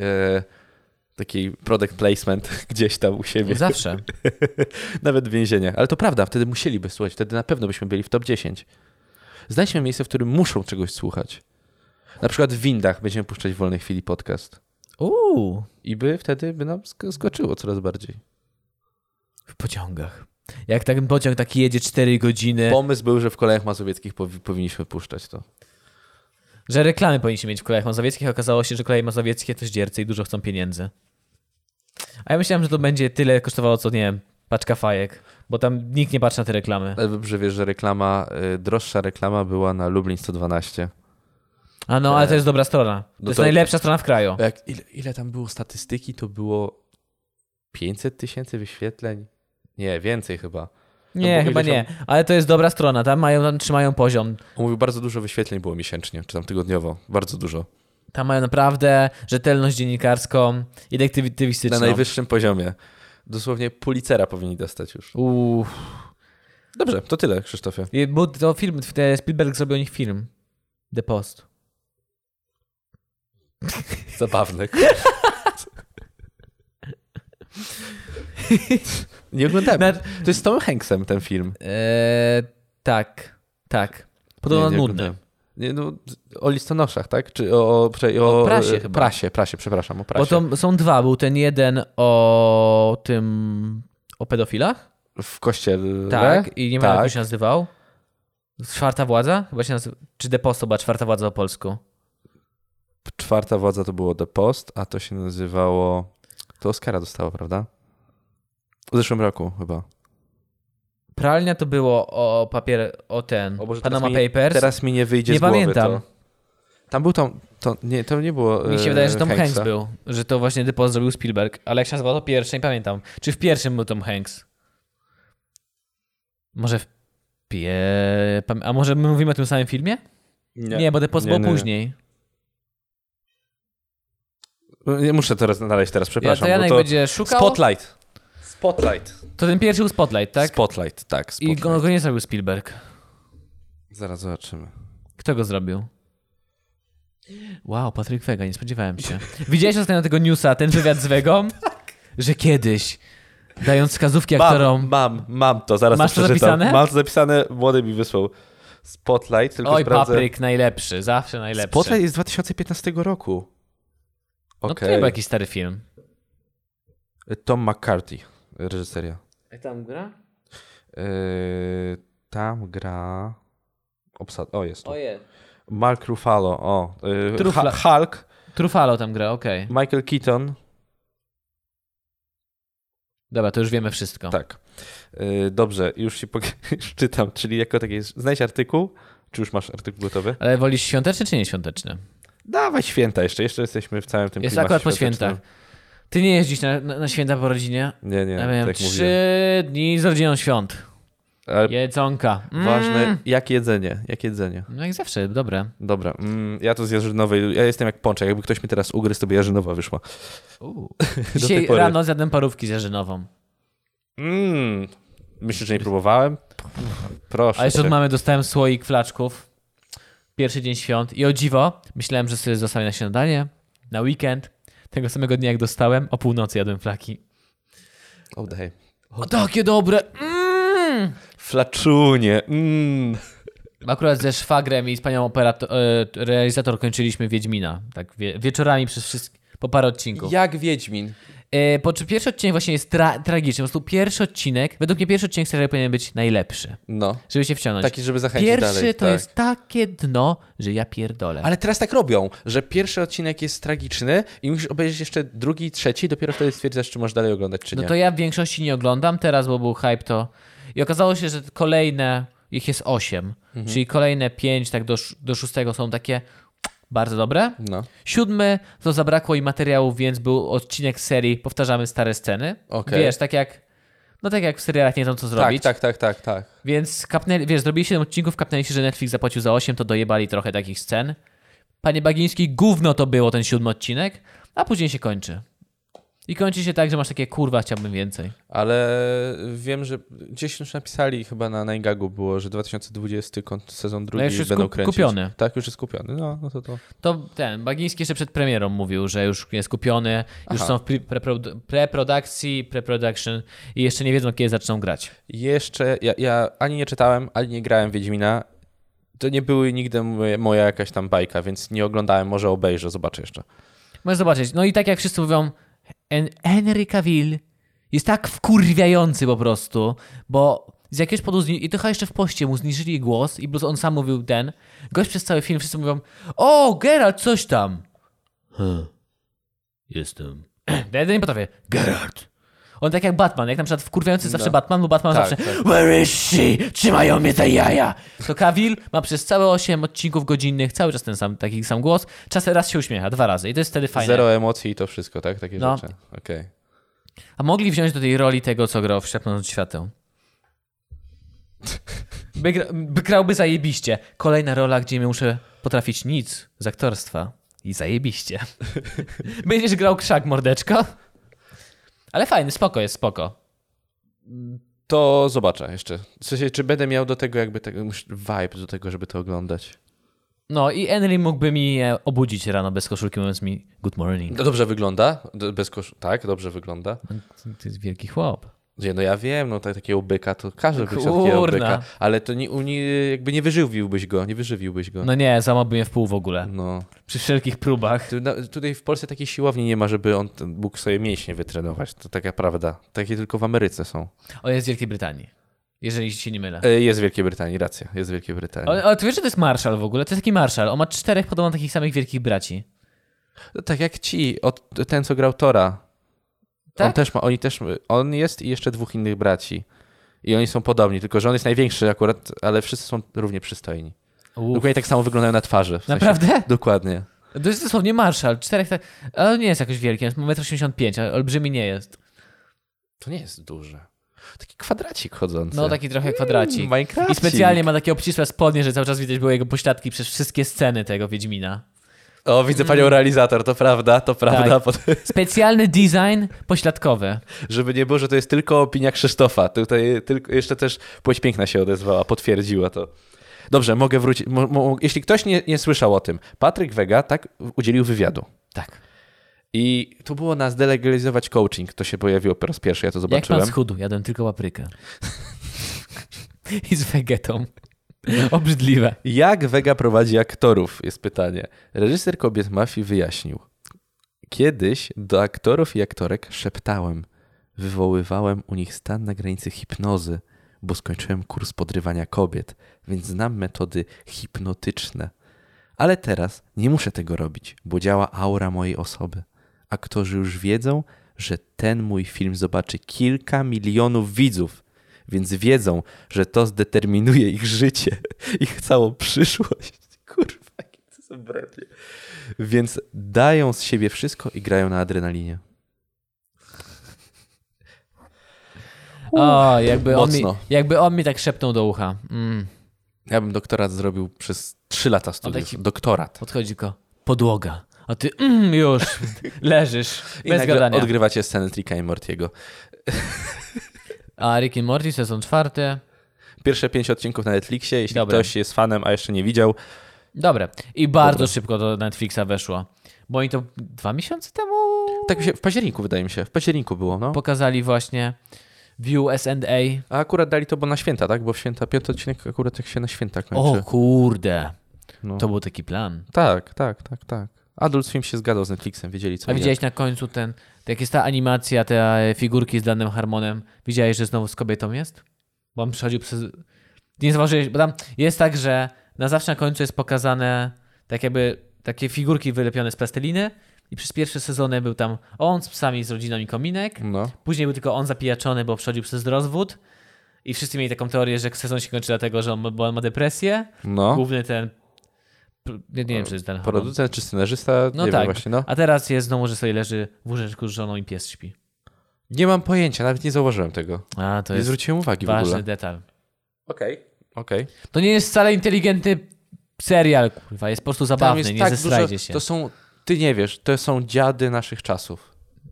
taki product placement gdzieś tam u siebie. Zawsze. Nawet w więzieniach. Ale to prawda, wtedy musieliby słuchać, wtedy na pewno byśmy byli w top 10. Znajdźmy miejsce, w którym muszą czegoś słuchać. Na przykład w windach będziemy puszczać w wolnej chwili podcast. Uuu. I by wtedy by nam sk- skoczyło coraz bardziej. W pociągach. Jak tak, ten pociąg taki jedzie 4 godziny, Pomysł był, że w kolejach mazowieckich powi- powinniśmy puszczać to. że reklamy powinniśmy mieć w kolejach mazowieckich, okazało się, że koleje mazowieckie to ździercy i dużo chcą pieniędzy. A ja myślałem, że to będzie tyle kosztowało, co nie wiem, paczka fajek, bo tam nikt nie patrzy na te reklamy. Ale dobrze wiesz, że reklama, y, droższa reklama była na Lublin 112. A no, ale to jest dobra strona. To No jest to- najlepsza strona w kraju. A Jak, ile, ile tam było statystyki? To było 500 tysięcy wyświetleń? Nie, więcej chyba. Nie, No, bo chyba ile nie, ale to jest dobra strona, tam mają, tam trzymają poziom. On mówił, bardzo dużo wyświetleń było miesięcznie, czy tam tygodniowo. Bardzo dużo. Tam mają naprawdę rzetelność dziennikarską i detektywistyczną. Na najwyższym poziomie. Dosłownie pulicera powinni dostać już. Uff. Dobrze, to tyle, Krzysztofie. I Był to film, te- Spielberg zrobił o nich film. The Post. Zabawny. Nie oglądałem. Na- To jest z Tom Hanksem ten film. Eee, tak, tak. Podobno nie, nie nudny. oglądałem. Nie, no, o listonoszach, tak? Czy o, o, prze- o, prasie e, chyba. Prasie, prasie, przepraszam, o prasie. Bo to są dwa. Był ten jeden o tym. o pedofilach? W kościele. Tak. I nie wiem, jak Tak. się nazywał. Czwarta władza? Chyba się nazywa. Czy The Post to była czwarta władza po polsku? Czwarta władza to było The Post, a to się nazywało. To Oscara dostało, prawda? W zeszłym roku chyba. Pralnia to było o papier. o ten. Panama teraz mi, Papers. Teraz mi nie wyjdzie Nie z głowy pamiętam. to. Tam był tam. To, nie, to nie było. Mi się e, wydaje, że Tom Hanksa. Hanks był. Że to właśnie The Post zrobił Spielberg. Ale jak się nazywało to pierwsze, nie pamiętam. Czy w pierwszym był Tom Hanks? Może w. Pie... pam- A może my mówimy o tym samym filmie? Nie, bo The Post Nie, było nie, nie. później. Nie muszę teraz znaleźć teraz, Ja, to przepraszam. Janek bo to będzie szukał. Spotlight. Spotlight. To ten pierwszy był Spotlight, tak? Spotlight, tak. I Spotlight. go, go nie zrobił Spielberg. Zaraz zobaczymy. Kto go zrobił? Wow, Patryk Wega, nie spodziewałem się. Widziałeś ostatnio tego newsa, ten wywiad z Wegą? Że kiedyś, dając wskazówki Mam, aktorom... mam, mam to, zaraz Masz to przeczytam. zapisane? Mam to zapisane, młody mi wysłał. Spotlight, tylko Oj, sprawdzę. Patryk, najlepszy, zawsze najlepszy. Spotlight jest z 2015 roku. No to Okej. nie był jakiś stary film. Tom McCarthy, reżyseria. Jak tam gra? Yy, tam gra... Obsad... O, jest tu. Oje. Mark Ruffalo, o. Yy, Trufla- Hu- Hulk, Trufalo tam gra, okej. Michael Keaton, Dobra, to już wiemy wszystko. tak. Yy, dobrze, już się pok- już czytam, czyli jako takie... Znajdź artykuł, czy już masz artykuł gotowy? Ale wolisz świąteczny czy nieświąteczny? Dawaj święta jeszcze, jeszcze jesteśmy w całym tym Jest klimacie akurat po świątecznym. świętach. Ty nie jeździsz na, na, na święta po rodzinie? Nie, nie, Ja miałem tak mówiłem. trzy dni z rodziną świąt. Ale Jedzonka. Mm. ważne, jak jedzenie, jak jedzenie. No jak zawsze, dobre. Dobra, mm, ja to z jarzynowej, ja jestem jak pączek, jakby ktoś mi teraz ugryzł, to by jarzynowa wyszła. Do tej Dzisiaj pory. rano zjadłem parówki z jarzynową. Mm, myślisz, że nie próbowałem? Proszę. A jeszcze od cię. mamy dostałem słoik flaczków. Pierwszy dzień świąt. I o dziwo, myślałem, że sobie zostawię na śniadanie, na weekend. Tego samego dnia jak dostałem, o północy jadłem flaki. O, daj. O, takie dobre! Mm! Flaczunie, mm. Akurat ze szwagrem i z panią operator, e, realizator kończyliśmy Wiedźmina. Tak wie, wieczorami przez wszystkie, po parę odcinków. Jak Wiedźmin. E, po, czy pierwszy odcinek właśnie jest tra- tragiczny. Po prostu pierwszy odcinek, według mnie pierwszy odcinek serialu powinien być najlepszy. No, Żeby się wciągnąć. taki, żeby zachęcić pierwszy dalej. to tak. jest takie dno, że ja pierdolę. Ale teraz tak robią, że pierwszy odcinek jest tragiczny i musisz obejrzeć jeszcze drugi, trzeci, dopiero wtedy stwierdzasz, czy możesz dalej oglądać, czy no nie. to ja w większości nie oglądam teraz, bo był hype to. I okazało się, że kolejne, ich jest osiem, Mhm. czyli kolejne pięć, tak do, sz- do szóstego są takie bardzo dobre. No, Siódmy, to zabrakło im materiałów, więc był odcinek serii Powtarzamy stare sceny. Okej. Wiesz, tak jak. No tak jak w serialach nie wiedzą co tak, zrobić. tak, tak, tak, tak. Więc kapnęli, wiesz, zrobili 7 odcinków, kapnęli się, że Netflix zapłacił za 8, to dojebali trochę takich scen. Panie Bagiński, gówno to było ten siódmy odcinek, a później się kończy. I kończy się tak, że masz takie kurwa, chciałbym więcej. Ale wiem, że gdzieś już napisali, chyba na Ningagu było, że 2020 kont- sezon drugi No już jest będą ku- kręcić. kupiony. Tak, już jest kupiony. No, no to to. To ten, Bagiński jeszcze przed premierą mówił, że już jest kupiony, już Aha. są w pre- preprodu- preprodukcji, preproduction i jeszcze nie wiedzą, kiedy zaczną grać. Jeszcze, ja, ja ani nie czytałem, ani nie grałem w Wiedźmina. To nie były nigdy moje, moja jakaś tam bajka, więc nie oglądałem, może obejrzę, zobaczę jeszcze. Możesz zobaczyć. No i tak jak wszyscy mówią, en- Henry Cavill jest tak wkurwiający po prostu, bo z jakiegoś powodu, zni- i to chyba jeszcze w poście mu zniżyli głos i plus on sam mówił ten, gość przez cały film wszyscy mówią, o Geralt, coś tam. Hmm. Jestem. Ja nie potrafię. Geralt. On tak jak Batman, jak na przykład wkurwiający zawsze Batman, bo Batman Tak, zawsze tak. Where is she? Trzymają mnie za jaja. To Cavill ma przez całe 8 odcinków godzinnych cały czas ten sam, taki sam głos. Czasem raz się uśmiecha, dwa razy i to jest wtedy fajne. Zero emocji i to wszystko, tak? Takie No. rzeczy. Okej. A mogli wziąć do tej roli tego, co grał w Szepnąc Świateł. By, gra, by grałby zajebiście. Kolejna rola, gdzie nie muszę potrafić nic z aktorstwa. I zajebiście. Będziesz grał krzak, mordeczko? Ale fajny, spoko jest, spoko. To zobaczę jeszcze. W sensie, czy będę miał do tego jakby tego już vibe do tego, żeby to oglądać. No i Henry mógłby mi e, obudzić rano bez koszulki, mówiąc mi good morning. No dobrze wygląda? D- Bez kosz... Tak, dobrze wygląda. To jest wielki chłop. Nie, no ja wiem, no tak, takiego byka to każdy by chciał Kurna. takiego byka, ale to nie, nie, jakby nie wyżywiłbyś go, nie wyżywiłbyś go. No nie, załamałby mnie w pół w ogóle. No. Przy wszelkich próbach. Tu, na, tutaj w Polsce takiej siłowni nie ma, żeby on ten mógł sobie mięśnie wytrenować. To taka prawda. Takie tylko w Ameryce są. O, jest w Wielkiej Brytanii. Jeżeli się nie mylę. E, jest w Wielkiej Brytanii, racja. Jest w Wielkiej Brytanii. Ale, ale ty wiesz, że to jest Marshall w ogóle? To jest taki Marshall. On ma czterech podobno takich samych wielkich braci. No Tak jak ci, od, ten co grał Tora. Tak? On też ma, oni też, on jest i jeszcze dwóch innych braci. I oni są podobni, tylko że on jest największy akurat, ale wszyscy są równie przystojni. Dokładnie tak samo wyglądają na twarzy. W sensie. No Naprawdę? Dokładnie. To jest dosłownie Marshall. Czterech tak... Ale on nie jest jakoś wielki. On ma 1,85 m, olbrzymi nie jest. To nie jest duże. Taki kwadracik chodzący. No taki trochę kwadracik. Minecraft. I specjalnie ma takie obcisłe spodnie, że cały czas widać było jego pośladki przez wszystkie sceny tego Wiedźmina. O, widzę panią realizator, to prawda, to Tak. prawda. Pod- Specjalny design pośladkowy. Żeby nie było, że to jest tylko opinia Krzysztofa. Tutaj tylko, jeszcze też płeć piękna się odezwała, potwierdziła to. Dobrze, mogę wrócić. Mo, mo, jeśli ktoś nie, nie słyszał o tym, Patryk Wega tak udzielił wywiadu. Tak. I to było na zdelegalizować coaching. To się pojawiło po raz pierwszy, ja to Jak zobaczyłem. pan schudł? Jadłem tylko paprykę. I z wegetą. Obrzydliwe. Jak Vega prowadzi aktorów? Jest pytanie. Reżyser kobiet mafii wyjaśnił. Kiedyś do aktorów i aktorek szeptałem. Wywoływałem u nich stan na granicy hipnozy, bo skończyłem kurs podrywania kobiet, więc znam metody hipnotyczne. Ale teraz nie muszę tego robić, bo działa aura mojej osoby. Aktorzy już wiedzą, że ten mój film zobaczy kilka milionów widzów, więc wiedzą, że to zdeterminuje ich życie, ich całą przyszłość. Kurwa, jakie to są brednie. Więc dają z siebie wszystko i grają na adrenalinie. O, jakby on, mi, mocno. jakby on mi tak szepnął do ucha. Mm. Ja bym doktorat zrobił przez 3 lata studiów. taki- Doktorat. Podchodzi go. Podłoga. A ty mm, już leżysz. I Bez nagle gadania. odgrywacie scenę Tricka i Mortiego. A Rick and Morty sezon czwarty. Pierwsze pięć odcinków na Netflixie. Jeśli Dobra. ktoś jest fanem, a jeszcze nie widział, Dobre. I bardzo szybko do Netflixa weszło. Bo oni to dwa miesiące temu Tak mi się, w październiku wydaje mi się, w październiku było, no. pokazali właśnie View S&A. A akurat dali to, bo na święta, tak? Bo w święta, piąty odcinek akurat jak się na święta kończy. O kurde. No. To był taki plan. Tak, tak, tak, tak. Adult Swim się zgadzał z Netflixem, wiedzieli co A i jak. widziałeś na końcu ten, jak jest ta animacja, te e, figurki z danym harmonem, widziałeś, że znowu z kobietą jest? Bo on przechodził przez... Nie zauważyłeś, bo tam jest tak, że na zawsze na końcu jest pokazane tak jakby takie figurki wylepione z plasteliny i przez pierwsze sezony był tam on z psami z rodzinami kominek, No. później był tylko on zapijaczony, bo przechodził przez rozwód i wszyscy mieli taką teorię, że sezon się kończy dlatego, że on ma, bo on ma depresję. No. Główny ten... Nie, nie wiem, czy to jest ten hormon. Producent czy scenarzysta, No nie tak. wiem właśnie, no. A teraz jest znowu, że sobie leży w łóżeczku z żoną i pies śpi. Nie mam pojęcia, nawet nie zauważyłem tego. A, to nie jest zwróciłem uwagi w ważny ogóle. detal. Okej. Okej. To nie jest wcale inteligentny serial, kurwa. Jest po prostu Tam zabawny, jest nie tak zesrajcie dużo, się. to są, ty nie wiesz, to są dziady naszych czasów.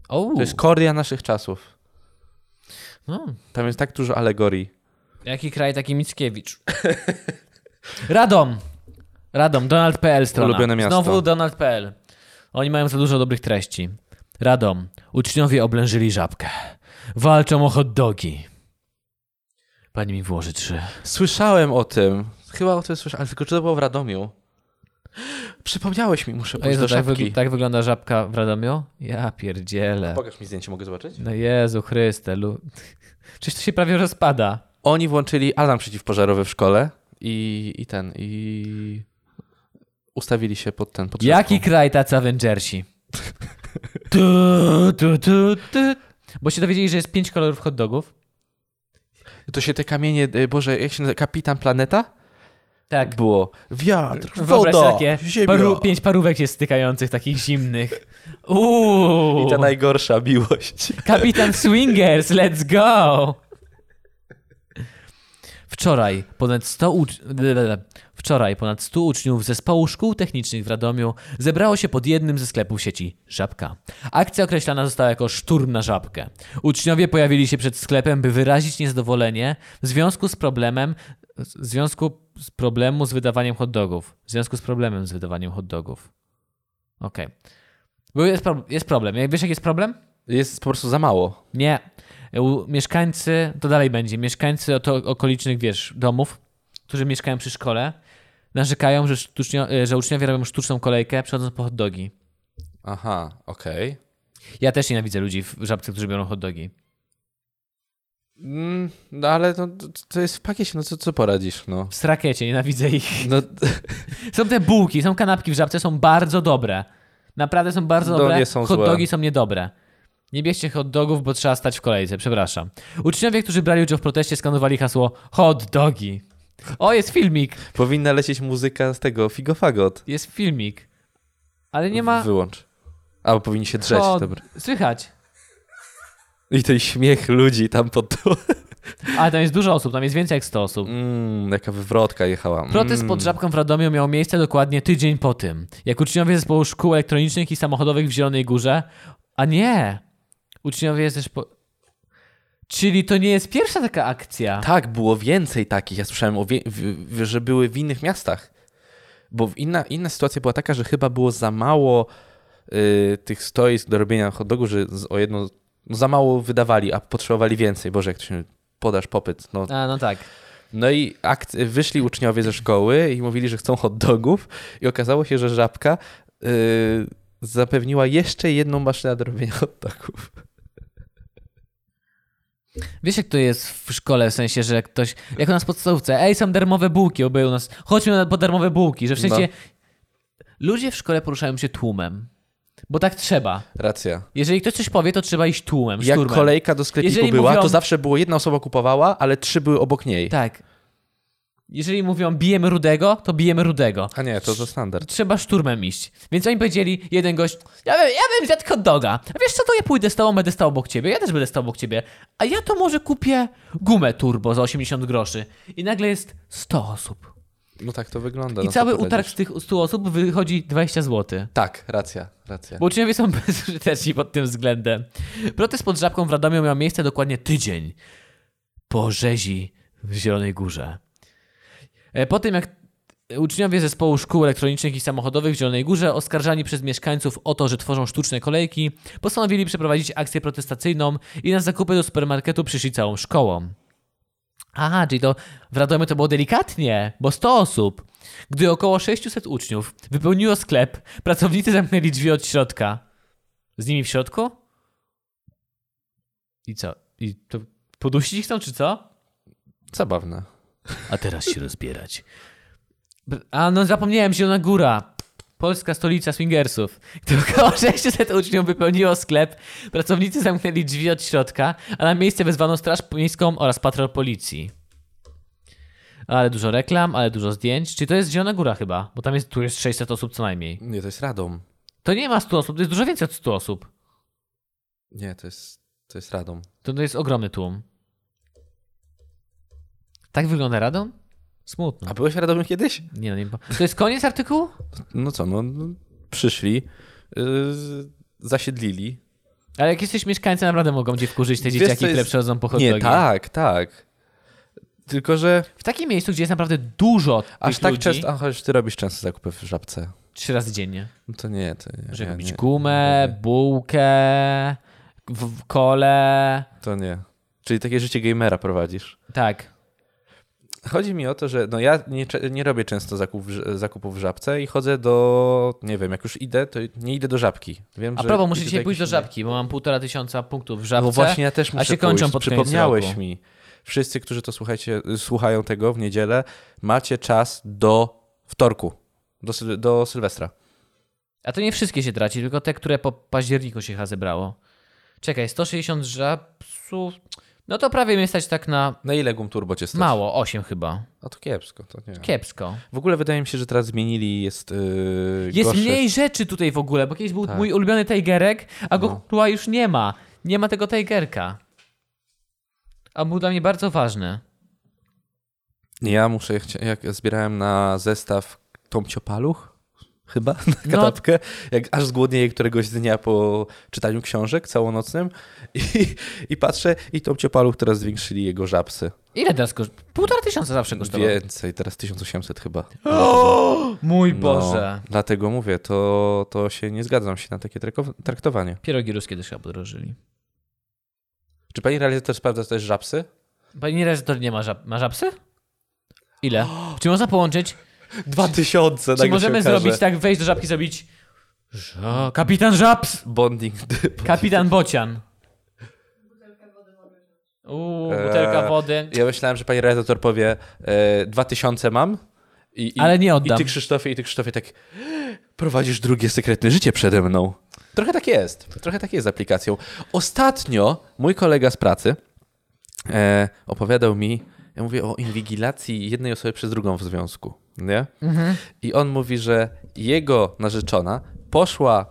O, To jest Korea naszych czasów. no. Tam jest tak dużo alegorii. Jaki kraj, taki Mickiewicz. Radom. Radom, Donald.pl strona. Ulubione miasto. Znowu Donald.pl. Oni mają za dużo dobrych treści. Radom. Uczniowie oblężyli żabkę. Walczą o hot dogi. Pani mi włoży trzy. Słyszałem o tym. Chyba o tym słyszałem, ale tylko czy to było w Radomiu? Przypomniałeś mi, muszę O pójść Jezu, do tak, żabki. wyg- tak wygląda żabka w Radomiu? Ja pierdzielę. Pokaż mi zdjęcie, mogę zobaczyć? No Jezu Chryste. Lu... Przecież to się prawie rozpada. Oni włączyli alarm przeciwpożarowy w szkole i, i ten, i ustawili się pod ten, pod Jaki żabką. kraj tacy Avengersi? tu, tu, tu, tu. Bo się dowiedzieli, że jest pięć kolorów hot dogów. To się te kamienie, y, Boże, jak się nazywa, Kapitan Planeta? Tak. Było. Wiatr, Wyobraź woda, sobie takie ziemia. paru, pięć parówek się stykających, takich zimnych. Uuu, I ta najgorsza miłość. kapitan Swingers, let's go! Wczoraj ponad 100 ucz... blablabla. Wczoraj ponad 100 uczniów zespołu szkół technicznych w Radomiu zebrało się pod jednym ze sklepów sieci Żabka. Akcja określana została jako szturm na żabkę. Uczniowie pojawili się przed sklepem, by wyrazić niezadowolenie w związku z problemem w związku z problemu z wydawaniem hot dogów. W związku z problemem z wydawaniem hot dogów. Okej. Bo Jest, pro... jest problem. Jak Wiesz, jaki jest problem? Jest po prostu za mało. Nie. U- Mieszkańcy, to dalej będzie, mieszkańcy oto, okolicznych, wiesz, domów, którzy mieszkają przy szkole, narzekają, że, sztucznio, y, że uczniowie robią sztuczną kolejkę, przechodząc po hot dogi. Aha, okej. Ja też nienawidzę ludzi w żabce, którzy biorą hot dogi. Mm, no ale no, to, to jest w pakiecie, no co, co poradzisz, no. W strakiecie nienawidzę ich. No, Są te bułki, są kanapki w żabce, są bardzo dobre. Naprawdę są bardzo No, dobre. nie są hot złe. dogi są niedobre. Nie bierzcie hot dogów, bo trzeba stać w kolejce, przepraszam. Uczniowie, którzy brali udział w proteście, skanowali hasło hot dogi. O, jest filmik. powinna lecieć muzyka z tego Figofagot. Jest filmik. Ale nie ma. Wyłącz. Albo powinni się drzeć, O, dobra. Słychać. I ten śmiech ludzi tam pod to. Ale tam jest dużo osób, tam jest więcej jak 100 osób. Mm, jaka wywrotka jechała. Protest Mm. pod Żabką w Radomiu miał miejsce dokładnie tydzień po tym, jak uczniowie zespołu szkół elektronicznych i samochodowych w Zielonej Górze. A nie! Uczniowie z zespołu. Czyli to nie jest pierwsza taka akcja. Tak, było więcej takich. Ja słyszałem, o wie... w... w- że były w innych miastach. Bo w inna, inna sytuacja była taka, że chyba było za mało y, tych stoisk do robienia hot dogu, że z, o jedno, no, za mało wydawali, a potrzebowali więcej. Boże, jak to się podasz popyt. No, A, no tak. No i akt, wyszli uczniowie ze szkoły i mówili, że chcą hot dogów i okazało się, że Żabka yy, zapewniła jeszcze jedną maszynę do robienia hot dogów. Wiesz, jak to jest w szkole, w sensie, że ktoś. Jak u nas w podstawówce, ej, są darmowe bułki, oby u nas. Chodźmy na po darmowe bułki, No. że w sensie. Ludzie w szkole poruszają się tłumem. Bo tak trzeba. Racja. Jeżeli ktoś coś powie, to trzeba iść tłumem, Jak szturmem. kolejka do sklepiku Jeżeli była, mówią- to zawsze było jedna osoba kupowała, ale trzy były obok niej. Tak. Jeżeli mówią bijemy rudego, to bijemy rudego. A nie, to to standard. Trzeba szturmem iść. Więc oni powiedzieli, jeden gość, ja bym, ja bym zjadł hot doga. A wiesz co, to ja pójdę z tobą, będę stał obok ciebie, ja też będę stał obok ciebie. A ja to może kupię gumę turbo za 80 groszy. I nagle jest 100 osób. No tak to wygląda. I no co cały poradzisz. utarg z tych 100 osób wychodzi 20 zł. Tak, racja, racja. Bo uczniowie są bezużyteczni pod tym względem. Protest pod Żabką w Radomiu miał miejsce dokładnie tydzień po rzezi w Zielonej Górze. E, Po tym, jak uczniowie zespołu szkół elektronicznych i samochodowych w Zielonej Górze, oskarżani przez mieszkańców o to, że tworzą sztuczne kolejki, postanowili przeprowadzić akcję protestacyjną i na zakupy do supermarketu przyszli całą szkołą. Aha, czyli to w Radomiu to było delikatnie, bo 100 osób. Gdy około 600 uczniów wypełniło sklep, pracownicy zamknęli drzwi od środka. Z nimi w środku? I co? I to podusić ich chcą, czy co? Zabawne. A teraz się rozbierać. Br- A no zapomniałem, Zielona Góra. Polska stolica swingersów. Gdy około 600 uczniów wypełniło sklep, pracownicy zamknęli drzwi od środka, a na miejsce wezwano Straż Miejską oraz patrol policji. Ale dużo reklam, ale dużo zdjęć. Czyli to jest Zielona Góra chyba, bo tam jest, tu jest 600 osób co najmniej. Nie, to jest Radom. To nie ma 100 osób, to jest dużo więcej od 100 osób. Nie, to jest, to jest Radom. To, to jest ogromny tłum. Tak wygląda Radom? Smutno. A byłeś Radomiem kiedyś? Nie, no nie. po- To jest koniec artykułu? No co, no no, przyszli, yy, zasiedlili, Ale jak jesteś mieszkańcem, naprawdę mogą cię wkurzyć te Wiesz, dzieciaki, co jest- które przechodzą po hot Nie, dogi. tak, tak. Tylko, że W takim miejscu, gdzie jest naprawdę dużo aż tych tak ludzi, często. Aha, że ty robisz często zakupy w żabce. trzy razy dziennie, No to nie, to nie. żeby ja kupić nie, gumę, bułkę, w, w kole. To nie. Czyli takie życie gamera prowadzisz. Tak. Chodzi mi o to, że no ja nie, cze- nie robię często zakup, w ż- zakupów w żabce i chodzę do. Nie wiem, jak już idę, to nie idę do żabki. Wiem, A że propos, idę muszę dzisiaj pójść do jakiejś żabki, bo mam półtora tysiąca punktów w No żabce. bo właśnie ja też a muszę się kończą pójść. pod koniec Przypomniałeś roku. mi. Wszyscy, którzy to słuchajcie, słuchają tego w niedzielę, macie czas do wtorku, do, syl- do Sylwestra. A to nie wszystkie się traci, tylko te, które po październiku się chyba zebrało. Czekaj, 160 żabców. No to prawie mnie stać tak na Na ile gum turbo cię stać? mało, 8 chyba. A to kiepsko, to nie. Kiepsko. W ogóle wydaje mi się, że teraz zmienili, jest yy, Jest gorsze. mniej rzeczy tutaj w ogóle, bo kiedyś był Tak. mój ulubiony Tigerek, a go No. chyba już nie ma. Nie ma tego Tigerka. A był dla mnie bardzo ważny. Ja muszę, chcia- jak zbierałem na zestaw tą ciopaluch, chyba, na No. kanapkę, jak aż zgłodnieję któregoś dnia po czytaniu książek całonocnym i, i patrzę i tą ciopaluch teraz zwiększyli jego żabsy. Ile teraz kosztuje? Półtora tysiąca zawsze kosztował. Więcej, teraz 1800 chyba. Mój No, Boże. Dlatego mówię, to, to się nie zgadzam się na takie trako- traktowanie. Pierogi ruskie też chyba podrożyli. Czy pani realizator sprawdza też żabsy? Pani Rezytor nie ma żab... Ma żabsy? Ile? Czy można połączyć? Dwa tysiące. nagle Czy się możemy okaże. zrobić tak, wejść do żabki, zrobić... Ża... Kapitan Żabs! Bonding. Kapitan Bocian. Uuu, butelka Eee, wody. Ja myślałem, że pani realizator powie e, dwa tysiące mam. I, i, Ale nie I oddam. ty Krzysztofie, i ty Krzysztofie tak prowadzisz drugie sekretne życie przede mną. Trochę tak jest. Trochę tak jest z aplikacją. Ostatnio mój kolega z pracy e, opowiadał mi, ja mówię o inwigilacji jednej osoby przez drugą w związku. Nie? Mhm. I on mówi, że jego narzeczona poszła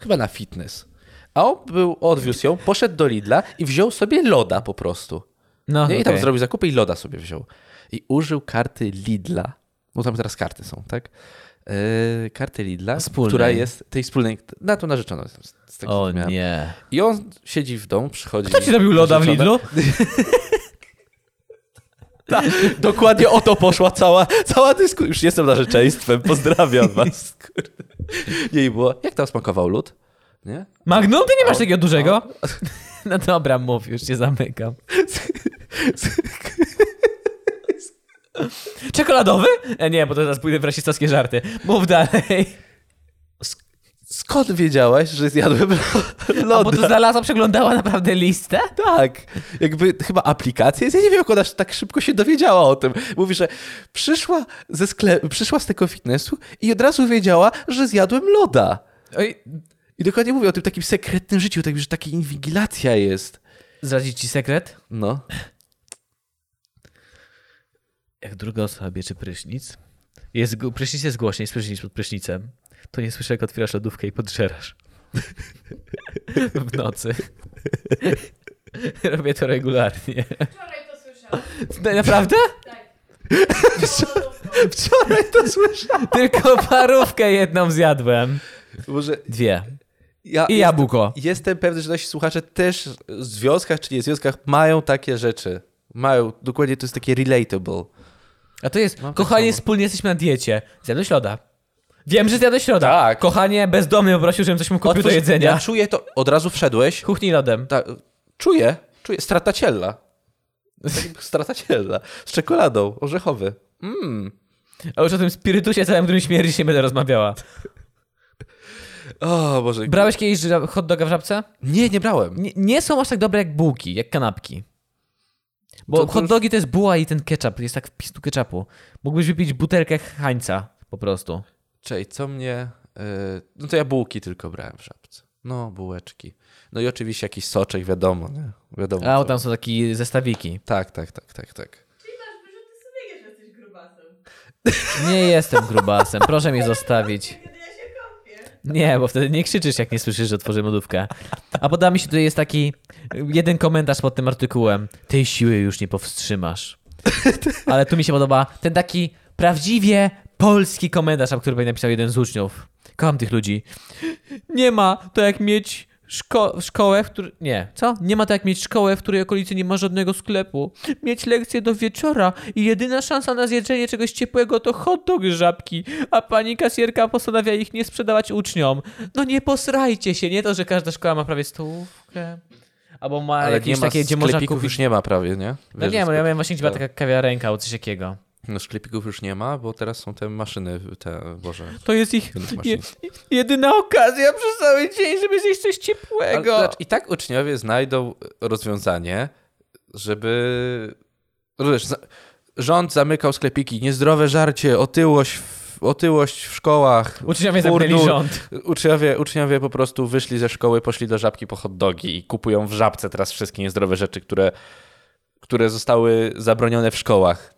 chyba na fitness. A on był, odwiózł ją, poszedł do Lidla i wziął sobie loda po prostu. No, Nie, I tam okej. zrobił zakupy i loda sobie wziął. I użył karty Lidla, bo tam teraz karty są, tak? Yy, karty Lidla, Wspólnej. która jest tej wspólnej, na tą narzeczoną. Z, z tego, O co miałem. nie. I on siedzi w domu, przychodzi. Kto ci robił loda w narzeczona. Lidlu? Dokładnie o to poszła cała, cała dyskusja. Już jestem narzeczeństwem, pozdrawiam was. Kurde. Jej było, jak tam smakował lód? Nie? Magnum, ty nie masz takiego dużego? No dobra, mów, już cię zamykam. Czekoladowy? E, nie, bo to teraz pójdę w rasistowskie żarty. Mów dalej. Skąd wiedziałaś, że zjadłem A lody? bo to znalazła, przeglądała naprawdę listę? Tak, jakby chyba aplikacja jest. Ja nie wiem, jak ona tak szybko się dowiedziała o tym. Mówi, że przyszła ze sklepu, przyszła z tego fitnessu i od razu wiedziała, że zjadłem loda. Oj, I dokładnie mówię o tym takim sekretnym życiu, tak, że taka inwigilacja jest. zdradzić ci sekret? No. Jak druga osoba bierze prysznic, jest, gł- prysznic jest głośniej, słyszysz niż pod prysznicem, to nie słyszę, jak otwierasz lodówkę i podżerasz. w nocy. Robię to regularnie. Wczoraj to słyszałam. Naprawdę? Tak. Wczoraj to słyszałem. Tylko parówkę jedną zjadłem. Może Dwie. ja I jestem, jabłko. jestem pewny, że nasi słuchacze też w związkach czy nie związkach mają takie rzeczy. Mają, dokładnie to jest takie relatable. A to jest, Mam tak kochanie, samo. wspólnie jesteśmy na diecie. Zjadłeś loda. Wiem, że zjadłeś loda. Tak. Kochanie, bezdomny poprosił, żebym coś mu kupił do Otwórz- Ja jedzenia. czuję to, od razu wszedłeś. Kuchni lodem. Ta, czuję, czuję. Strataciella. Strataciella. Z czekoladą, orzechowy. Mm. A już o tym spirytusie całym, którym śmierdzi nie będę rozmawiała. O Boże. Brałeś kiedyś ża- hot doga w żabce? Nie, nie brałem. Nie, nie są aż tak dobre jak bułki, jak kanapki. Bo To- to hot już- dogi to jest buła i ten ketchup, jest tak wpis tu ketchupu. Mógłbyś wypić butelkę hańca po prostu. Czej, co mnie... y, no to ja bułki tylko brałem w żabce. No, bułeczki. No i oczywiście jakiś soczek, wiadomo. Nie? Wiadomo. A o, co. tam są takie zestawiki. Tak, tak, tak, tak, tak. Czyli masz wyrzuty sumienia, że jesteś grubasem. Nie jestem grubasem, proszę mnie zostawić. Kiedy ja się kąpię. Nie, bo wtedy nie krzyczysz, jak nie słyszysz, że otworzy lodówkę. A poda mi się tutaj jest taki jeden komentarz pod tym artykułem. Tej siły już nie powstrzymasz. Ale tu mi się podoba ten taki prawdziwie polski komentarz, a który napisał jeden z uczniów. Kocham tych ludzi. Nie ma to jak mieć szko- szkołę, w której... Nie, co? Nie ma tak mieć szkołę, w której okolicy nie ma żadnego sklepu. Mieć lekcje do wieczora i jedyna szansa na zjedzenie czegoś ciepłego to hot dog z żabki, a pani kasjerka postanawia ich nie sprzedawać uczniom. No nie posrajcie się, nie to, że każda szkoła ma prawie stówkę. Albo ma Ale nie jakieś ma takie, gdzie można sklepików kupić... już nie ma prawie, nie? No Wiesz, nie, że no ja sklep- miałem właśnie gdzie była tak. taka kawiarenka albo coś takiego. No sklepików już nie ma, bo teraz są te maszyny, te, Boże, To jest ich Ten je, właśnie. jedyna okazja przez cały dzień, żeby zjeść coś ciepłego. Ale, zobacz, I tak uczniowie znajdą rozwiązanie, żeby. Rozumiesz, za- rząd zamykał sklepiki. Niezdrowe żarcie, otyłość, w- otyłość w szkołach. Uczniowie Furnur. zamknęli rząd. Uczniowie, uczniowie po prostu wyszli ze szkoły, poszli do żabki po hot dogi i kupują w żabce teraz wszystkie niezdrowe rzeczy, które, które zostały zabronione w szkołach.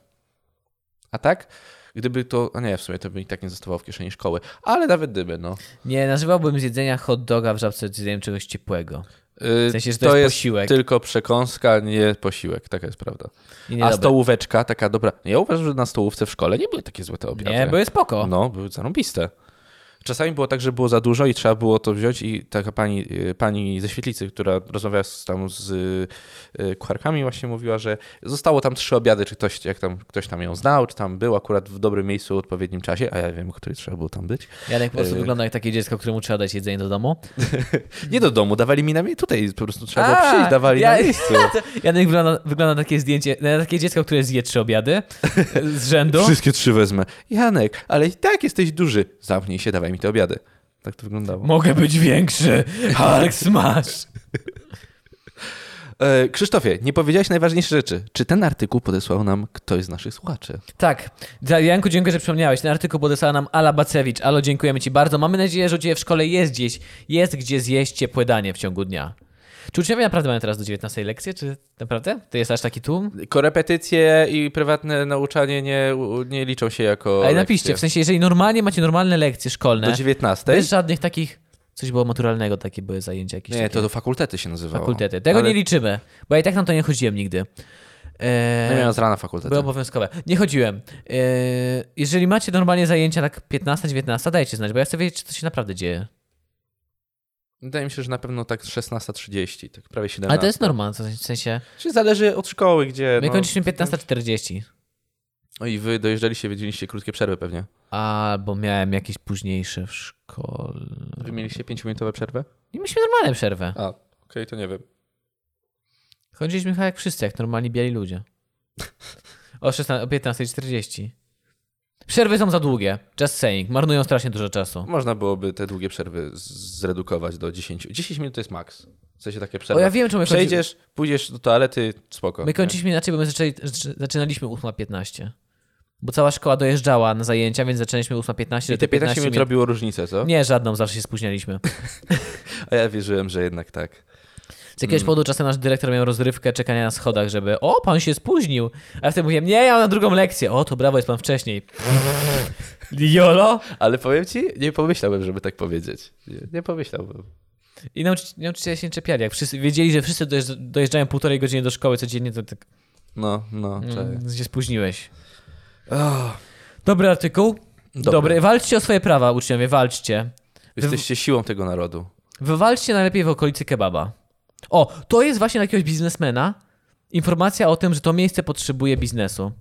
A tak? Gdyby to. A nie, w sumie to by i tak nie zostawało w kieszeni szkoły. Ale nawet gdyby, no. Nie, nazywałbym z jedzenia hot doga w żabce zjedzeniem czegoś ciepłego. Yy, W sensie, że to jest posiłek. tylko przekąska, nie posiłek. Taka jest prawda. I A niedobre. stołóweczka taka dobra. Ja uważam, że na stołówce w szkole nie były takie złe te obiady. Nie, były spoko. No, były zarąbiste. Czasami było tak, że było za dużo i trzeba było to wziąć i taka pani, y, pani ze świetlicy, która rozmawiała z, tam z y, y, kucharkami właśnie mówiła, że zostało tam trzy obiady, czy ktoś, jak tam, ktoś tam ją znał, czy tam był akurat w dobrym miejscu w odpowiednim czasie, a ja wiem, który trzeba było tam być. Janek po prostu Yy. wygląda jak takie dziecko, któremu trzeba dać jedzenie do domu. Nie do domu, dawali mi na miejscu, tutaj po prostu trzeba było A, przyjść, dawali ja- na miejscu. Janek wygląda, wygląda na takie zdjęcie, na takie dziecko, które zje trzy obiady z rzędu. Wszystkie trzy wezmę. Janek, ale i tak jesteś duży. Zamknij się, dawaj mi te obiady. Tak to wyglądało. Mogę być większy. Hulk smash. E, Krzysztofie, nie powiedziałeś najważniejszej rzeczy. Czy ten artykuł podesłał nam ktoś z naszych słuchaczy? Tak. Za- Janku, dziękuję, że przypomniałeś. Ten artykuł podesłała nam Ala Bacewicz. Alo, dziękujemy Ci bardzo. Mamy nadzieję, że u Ciebie w szkole jest gdzieś, jest gdzie zjeść ciepłe danie w ciągu dnia. Czy uczniowie naprawdę mają teraz do 19 lekcje? Czy naprawdę? To jest aż taki tłum? Korepetycje i prywatne nauczanie nie, nie liczą się jako. Ale napiszcie, w sensie, jeżeli normalnie macie normalnie lekcje szkolne, Do 19? bez żadnych takich, coś było maturalnego, takie były zajęcia jakieś Nie, takie. to do fakultety się nazywało. fakultety. Tego Ale No nie liczymy, bo ja i tak na to nie chodziłem nigdy. Ja Eee, miałem z rana fakultety. Były obowiązkowe. Nie chodziłem. Eee, jeżeli macie normalnie zajęcia tak 15-19, dajcie znać, bo ja chcę wiedzieć, czy to się naprawdę dzieje. Wydaje mi się, że na pewno tak 16.30, tak prawie 17. Ale to jest normalne, w sensie. Czyli zależy od szkoły, gdzie. My no, kończyliśmy 15.40. No i wy dojeżdżaliście, wiedzieliście krótkie przerwy pewnie. Albo miałem jakieś późniejsze w szkole. Wy mieliście 5-minutowe przerwy? I mieliśmy normalną przerwę. A, okej, to nie wiem. Chodziliśmy chyba jak wszyscy, jak normalni biali ludzie. O, 16 o 15.40. Przerwy są za długie. Just saying. Marnują strasznie dużo czasu. Można byłoby te długie przerwy z- zredukować do 10. 10 minut to jest maks. W sensie takie O, przerwy. ja wiem, czemu my kończy- Przejdziesz, pójdziesz do toalety, spoko. My kończyliśmy inaczej, bo my zaczęli, zaczy- zaczynaliśmy 8.15. Bo cała szkoła dojeżdżała na zajęcia, więc zaczęliśmy 8.15. nie? I że te 15 minut minut- robiło różnicę, co? Nie, żadną, zawsze się spóźnialiśmy. A ja wierzyłem, że jednak tak. Z jakiegoś powodu czasem nasz dyrektor miał rozrywkę czekania na schodach, żeby o, pan się spóźnił. A wtedy mówiłem, nie, ja mam na drugą lekcję. O, to brawo, jest pan wcześniej. Jolo. Ale powiem ci, nie pomyślałem, żeby tak powiedzieć. Nie, nie pomyślałbym. I nauczy- nauczyciele się nie czepiali. Jak wszyscy wiedzieli, że wszyscy dojeżdż- dojeżdżają półtorej godziny do szkoły codziennie, to tak No, no, czekaj. mm, się spóźniłeś. Oh, Dobry artykuł. Dobry. Dobry. Walczcie o swoje prawa, uczniowie, walczcie. jesteście siłą tego narodu. Wywalczcie najlepiej w okolicy kebaba. O, to jest właśnie dla jakiegoś biznesmena. Informacja o tym, że to miejsce potrzebuje biznesu.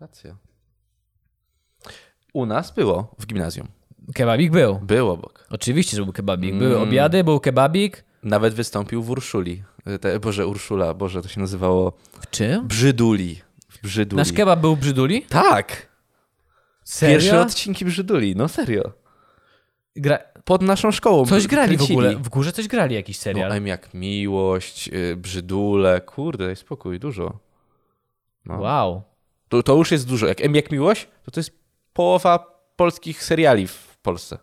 Racja. U nas było w gimnazjum. Kebabik był. Był obok. Oczywiście, że był kebabik. Były Mm. obiady, był kebabik. Nawet wystąpił w Urszuli. Y, Te, Boże, Urszula, Boże, to się nazywało W czym? Brzyduli. W Brzyduli. Nasz kebab był w brzyduli? Tak! Serio? Pierwsze odcinki Brzyduli, no serio. Gra... Pod naszą szkołą. Coś br- grali w kręcili. ogóle. W górze coś grali jakiś serial. No, M jak miłość, y, Brzydule, kurde, daj spokój, dużo. No. Wow. To, to już jest dużo. Jak M jak miłość, to to jest połowa polskich seriali w Polsce.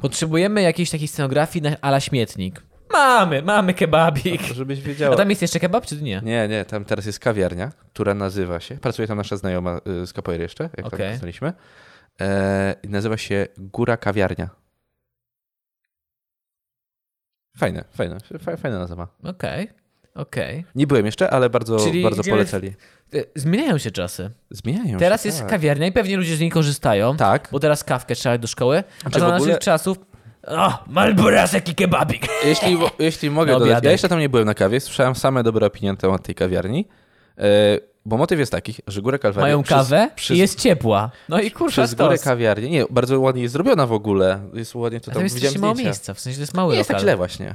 Potrzebujemy jakiejś takiej scenografii na ala śmietnik. Mamy, mamy kebabik. No, To, Żebyś A wiedziała. tam jest jeszcze kebab, czy nie? Nie, nie, tam teraz jest kawiarnia, która nazywa się, pracuje tam nasza znajoma y, z Capoeira jeszcze, jak tam Okej. poznaliśmy. E, i nazywa się Góra Kawiarnia. Fajne, fajne, fa- fajna nazwa. Okej, okej. Nie byłem jeszcze, ale bardzo, Czyli bardzo idziemy w- polecali. E, Zmieniają się czasy. Zmieniają Teraz się, jest tak. kawiarnia i pewnie ludzie z niej korzystają. Tak. Bo teraz kawkę trzeba do szkoły. A Czy za w ogóle- naszych czasów O, malborasek i kebabik. Jeśli, wo- jeśli mogę Na dodać, ja obiadek. jeszcze tam nie byłem na kawie, słyszałem same dobre opinie na temat tej kawiarni, e, bo motyw jest taki, że Górę Kalwarii... Mają przez- kawę przez- i jest ciepła. No i kurwa Przez Górę stos. kawiarni. Nie, bardzo ładnie jest zrobiona w ogóle. Jest ładnie to A tam tam jest widziałem strasznie mało zdjęcia. miejsca, w sensie to jest mały Nie jest tak lokal. źle właśnie.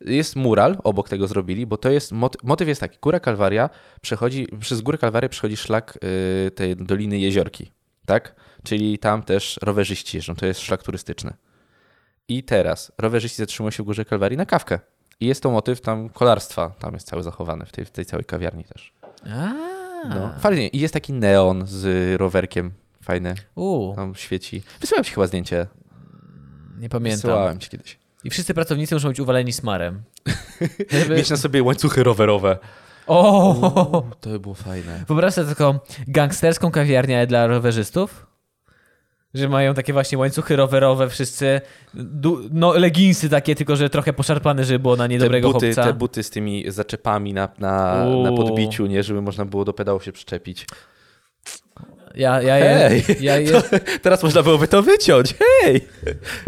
Jest mural, obok tego zrobili, bo to jest, mot- motyw jest taki, Góra Kalwaria przechodzi, przez Górę Kalwarię przechodzi szlak y, tej Doliny Jeziorki, tak? Czyli tam też rowerzyści jeżdżą, to jest szlak turystyczny. I teraz rowerzyści zatrzymują się w Górze Kalwarii na kawkę. I jest to motyw tam kolarstwa, tam jest cały zachowany w tej, w tej całej kawiarni też. No. A, Fajnie, i jest taki neon z rowerkiem, fajny, u, tam świeci. Wysyłałem ci chyba zdjęcie, nie pamiętam. wysyłałem ci kiedyś. I wszyscy pracownicy muszą być uwaleni smarem. Żeby... Mieć na sobie łańcuchy rowerowe. O, To by było fajne. Wyobraź sobie taką gangsterską kawiarnię dla rowerzystów, że mają takie właśnie łańcuchy rowerowe wszyscy, du- no leginsy takie, tylko że trochę poszarpane, żeby było na niedobrego te buty, chłopca. Te buty z tymi zaczepami na, na, na Uuu. podbiciu, nie? Żeby można było do pedału się przyczepić. ja, ja, Hej! je, ja, je, Teraz można byłoby to wyciąć, hej!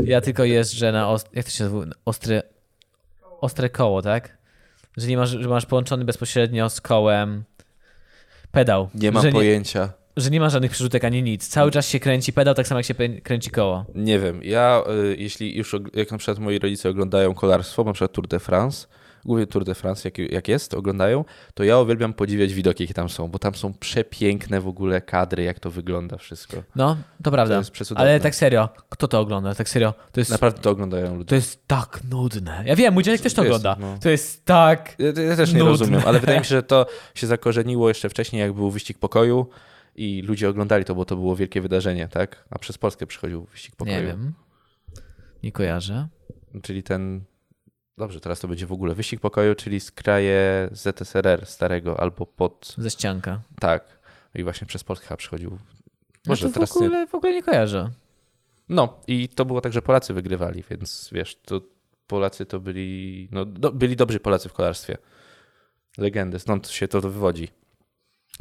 ja tylko jeżdżę na ost- jak to się nazywa? ostre, ostre koło, tak? Że nie masz, że masz połączony bezpośrednio z kołem pedał. Nie mam że pojęcia. Że nie ma żadnych przerzutek ani nic. Cały czas się kręci pedał, tak samo jak się pę- kręci koło. Nie wiem, ja y, jeśli już, og- jak na przykład moi rodzice oglądają kolarstwo, na przykład Tour de France, głównie Tour de France, jak, jak jest, oglądają, to ja uwielbiam podziwiać widoki, jakie tam są, bo tam są przepiękne w ogóle kadry, jak to wygląda wszystko. No, to prawda. To jest przecudowne. Ale tak serio, kto to ogląda? Tak serio, to jest, Naprawdę to oglądają ludzie. to jest tak nudne. Ja wiem, mój dziadek też to To jest, ogląda. no. To jest tak... Ja, ja też nie Nudne. rozumiem, ale wydaje mi się, że to się zakorzeniło jeszcze wcześniej, jak był wyścig pokoju i ludzie oglądali to, bo to było wielkie wydarzenie, tak? A przez Polskę przychodził wyścig pokoju. Nie wiem. Nie kojarzę. Czyli ten. Dobrze, teraz to będzie w ogóle wyścig pokoju, czyli z kraje ZSRR starego albo pod. Ze ścianka. Tak. I właśnie przez Polskę chyba przychodził. Może Może no to teraz w ogóle, w ogóle nie kojarzę. nie. No i to było tak, że Polacy wygrywali, więc wiesz, to Polacy to byli. No, do, byli dobrzy Polacy w kolarstwie. Legendy, stąd się to wywodzi.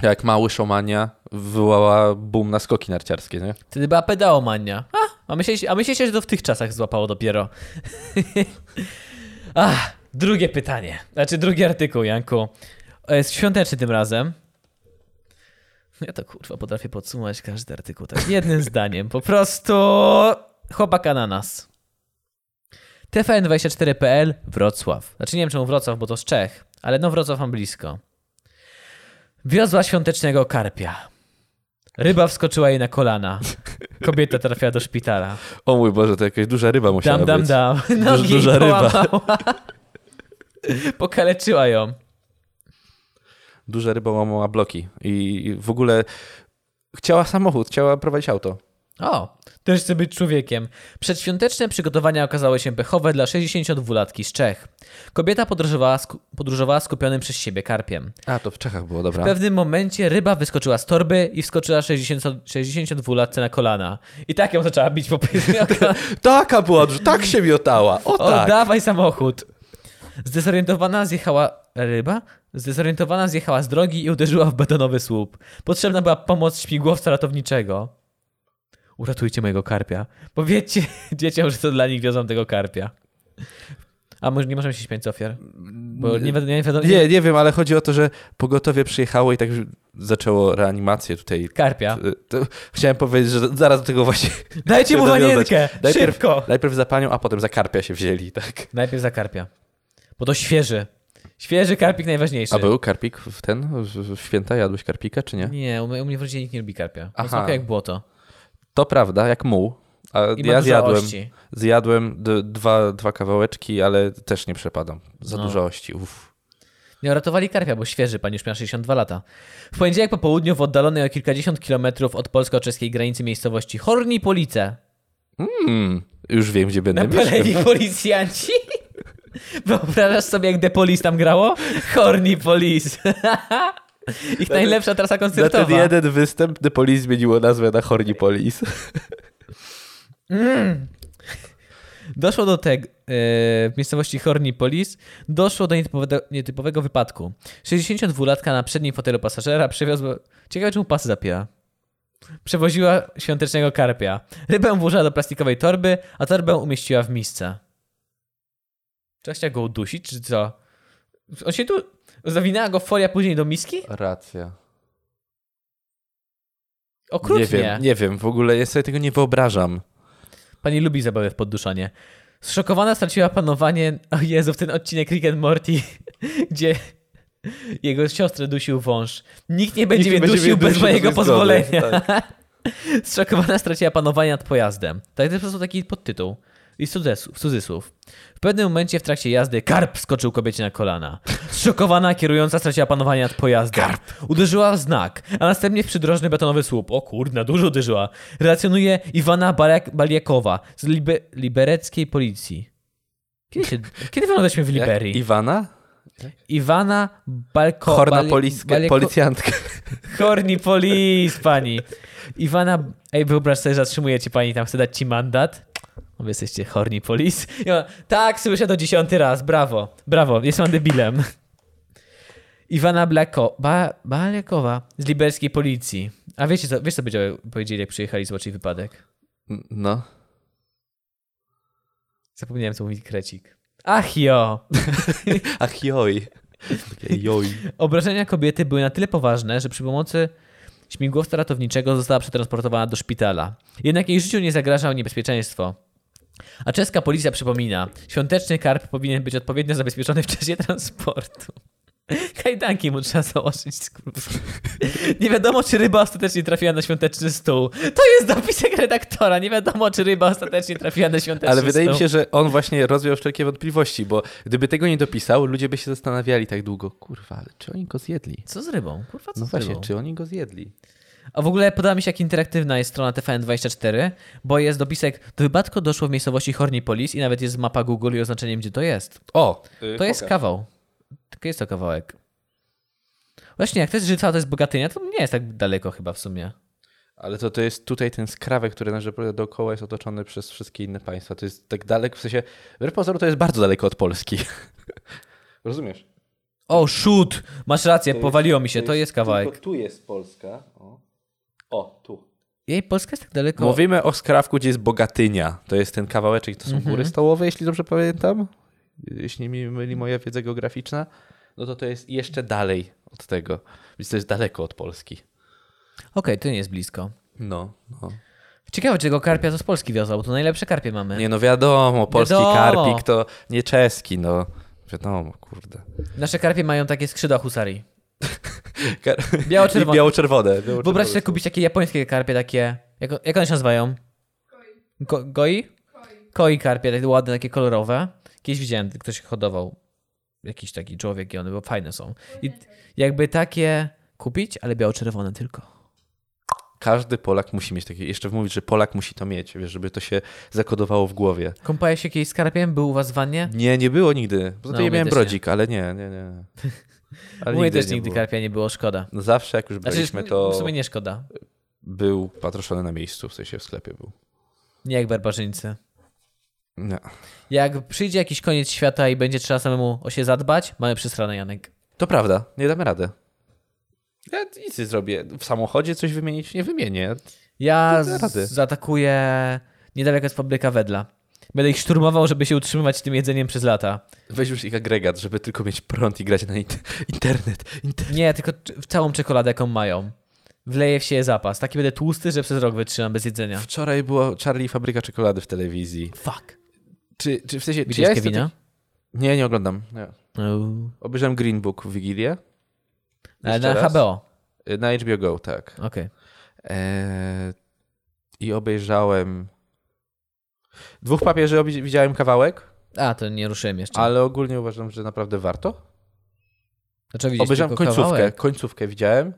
Jak mały szomania wywołała boom na skoki narciarskie, nie? Wtedy była pedałomania. A, a myśleliście, a myśleliście, że to w tych czasach złapało dopiero. Ach, drugie pytanie. Znaczy drugi artykuł, Janku. E, Jest świąteczny tym razem. Ja to kurwa potrafię podsumować każdy artykuł tak jednym zdaniem. Po prostu chłopak ananas. TVN24.pl Wrocław. Znaczy nie wiem czemu Wrocław, bo to z Czech, ale no Wrocław mam blisko. Wiozła świątecznego karpia. Ryba wskoczyła jej na kolana. Kobieta trafiła do szpitala. O mój Boże, to jakaś duża ryba musiała Dam, dam, być. dam. Nogi Duża- duża jej ryba. połamała. Pokaleczyła ją. Duża ryba łamała bloki i w ogóle chciała samochód, chciała prowadzić auto. O, też chce być człowiekiem. Przedświąteczne przygotowania okazały się pechowe dla 62-latki z Czech. Kobieta podróżowała, sku- podróżowała skupionym przez siebie karpiem. A, to w Czechach było, W dobra. pewnym momencie ryba wyskoczyła z torby i wskoczyła 60 62-latce na kolana. I tak ją zaczęła bić po pyskach. Taka była, duża, tak się miotała, o tak. Oddawaj samochód. Zdezorientowana zjechała ryba. Zdezorientowana zjechała z drogi i uderzyła w betonowy słup. Potrzebna była pomoc śmigłowca ratowniczego. Uratujcie mojego karpia. Powiedzcie dzieciom, że to dla nich wiozą tego karpia. A może nie możemy się śmiać z ofiar? Bo nie, wiadomo, nie wiadomo. Nie, nie wiem, ale chodzi o to, że pogotowie przyjechało i tak już zaczęło reanimację tutaj. Karpia. Y, To, chciałem powiedzieć, że zaraz do tego właśnie. Dajcie mu nawiązać. wanienkę! Najpierw, Szybko! najpierw za panią, a potem za karpia się wzięli, tak. Najpierw za karpia. Bo to świeży. Świeży karpik najważniejszy. A był karpik w ten, w w święta? Jadłeś karpika, czy nie? Nie, u mnie u mnie w rodzinie nikt nie lubi karpia. Aha. On smakuje jak błoto. To prawda, jak muł. A I ma ja dużo zjadłem, ości. zjadłem d- dwa, dwa kawałeczki, ale też nie przepadam. Za No. dużo ości, uff. Nie ratowali karpia, bo świeży, pan już miał 62 lata. W poniedziałek po południu w oddalonej o kilkadziesiąt kilometrów od polsko-czeskiej granicy miejscowości Horni Police Mm, już wiem, gdzie będę napaleni mieszkał. policjanci. Wyobrażasz sobie, jak The Police tam grało? Horni Police. Ich najlepsza trasa Na ten koncertowa. jeden występ The Police zmieniło nazwę na Horny Police. Mm. Doszło do tego, w miejscowości Horni Police, doszło do nietypowego, nietypowego wypadku. 62-latka na przednim fotelu pasażera przywiozła... Ciekawe, czemu pas zapija. Przewoziła świątecznego karpia. Rybę włożyła do plastikowej torby, a torbę umieściła w misce. Czy chciała go udusić, czy co? On się tu... Zawinęła go folia później do miski? Racja. Okrutnie. Nie wiem, nie wiem, w ogóle ja sobie tego nie wyobrażam. Pani lubi zabawę w podduszanie. Zszokowana straciła panowanie. O Jezu, w ten odcinek Rick and Morty, gdzie jego siostrę dusił wąż. Nikt nie będzie Nikt mnie nie będzie dusił mnie bez dusił mojego bez zgody, tak. pozwolenia. Zszokowana straciła panowanie nad pojazdem. Tak, to jest po prostu taki podtytuł. I cudzysłów, cudzysłów. W pewnym momencie w trakcie jazdy karp skoczył kobiecie na kolana. Zszokowana kierująca straciła panowanie nad pojazdem. Karp. Uderzyła w znak, a następnie w przydrożny betonowy słup. O kurna, dużo uderzyła. Relacjonuje Iwana Baliak Baliakowa z libe libereckiej policji. Kiedy, się, kiedy wylądaliśmy w Jak? Liberii? Iwana? Iwana Balko... Chorna Bali- poliska, Baliako- policjantka. Horni police, pani. Iwana, ej, wyobraź sobie, zatrzymuje cię pani, tam chce dać ci mandat. Wy jesteście horni police. I ona, tak, słyszę to dziesiąty raz, brawo, brawo, jest pan debilem. Iwana Blako, ba, Baliakowa z liberskiej policji. A wiecie co, wiesz co powiedziały- powiedzieli, jak przyjechali zobaczyć wypadek? No. Zapomniałem, co mówi Krecik. Ach jo! Ach joj. Takie Joj. Obrażenia kobiety były na tyle poważne, że przy pomocy śmigłowca ratowniczego została przetransportowana do szpitala. Jednak jej życiu nie zagrażało niebezpieczeństwo. A czeska policja przypomina, świąteczny karp powinien być odpowiednio zabezpieczony w czasie transportu. Kajdanki mu trzeba założyć. skurwa. Nie wiadomo, czy ryba ostatecznie trafiła na świąteczny stół. To jest dopisek redaktora. Nie wiadomo, czy ryba ostatecznie trafiła na świąteczny stół. Ale wydaje mi się, że on właśnie rozwiał wszelkie wątpliwości, bo gdyby tego nie dopisał, ludzie by się zastanawiali tak długo. Kurwa, ale czy oni go zjedli? Co z rybą? Kurwa, co No z właśnie, rybą? czy oni go zjedli? A w ogóle podoba mi się, jak interaktywna jest strona TVN24, bo jest dopisek do wypadku doszło w miejscowości Hornipolis i nawet jest mapa Google i oznaczeniem, gdzie to jest. O! To jest kawał. Tylko jest to kawałek. Właśnie, jak to jest Żytwa, to jest Bogatynia, to nie jest tak daleko chyba w sumie. Ale to, to jest tutaj ten skrawek, który nasz dookoła jest otoczony przez wszystkie inne państwa. To jest tak daleko, w sensie, wbrew pozorom to jest bardzo daleko od Polski. Rozumiesz? O, shoot! Masz rację, powaliło mi się, to jest kawałek. tu jest Polska. O, tu. Jej, Polska jest tak daleko. Mówimy o skrawku, gdzie jest Bogatynia. To jest ten kawałeczek, to są Mhm. góry stołowe, jeśli dobrze pamiętam. Jeśli mi myli moja wiedza geograficzna. No to to jest jeszcze dalej od tego. Więc to jest daleko od Polski. Okej, to nie jest blisko. No, no. Ciekawe, czy tego karpia to z Polski wiozą, bo tu najlepsze karpie mamy. Nie no wiadomo, polski Wiadomo. karpik to nie czeski, no. Wiadomo, kurde. Nasze karpie mają takie skrzydła husarii. Kar... Biało-czerwone. I biało-czerwone. biało Wyobraź sobie kupić takie japońskie karpie, takie. Jak, jak one się nazywają? Koi, Ko, goi? koi. Koi karpie, takie ładne, takie kolorowe. Kiedyś widziałem, ktoś ich hodował. Jakiś taki człowiek i one, bo fajne są. I jakby takie kupić, ale biało-czerwone tylko. Każdy Polak musi mieć takie, jeszcze mówić, że Polak musi to mieć, wiesz, żeby to się zakodowało w głowie. Kąpałeś się kiedyś z karpiem? Był u was w wannie? Nie, nie było nigdy. Poza No, tym ja u mnie miałem też nie. brodzik, ale nie, nie, nie. Ale U mnie też nigdy było. karpia nie było, szkoda. No zawsze jak już Znaczy, braliśmy, to w sumie nie szkoda. był patroszony na miejscu, w sensie w sklepie był. No. Nie jak barbarzyńcy. Nie. Jak przyjdzie jakiś koniec świata i będzie trzeba samemu o się zadbać, mamy przysrane Janek. To prawda, nie damy rady. Ja nic nie zrobię. W samochodzie coś wymienić nie wymienię. Ja To da rady. z- zaatakuję niedaleko jest fabryka Wedla. Będę ich szturmował, żeby się utrzymywać tym jedzeniem przez lata. Weź już ich agregat, żeby tylko mieć prąd i grać na in- internet. Inter- Nie, tylko c- w całą czekoladę, jaką mają. Wleję w siebie zapas. Taki będę tłusty, że przez rok wytrzymam bez jedzenia. Wczoraj była Charlie i Fabryka Czekolady w telewizji. Fuck. Czy, czy w sensie... czy Widziałeś jestem Kevina? No. taki- Nie, nie oglądam. Nie. Uuu. Obejrzałem Green Book w Wigilię. Ale Jeszcze na raz? HBO. Y, Na HBO Go, tak. Okej. Eee, I obejrzałem... Dwóch papieży obie- widziałem kawałek. A, to nie ruszyłem jeszcze. Ale... Ale ogólnie uważam, że naprawdę warto. Znaczy, widzieć Obejrzałem tylko końcówkę, kawałek, końcówkę widziałem,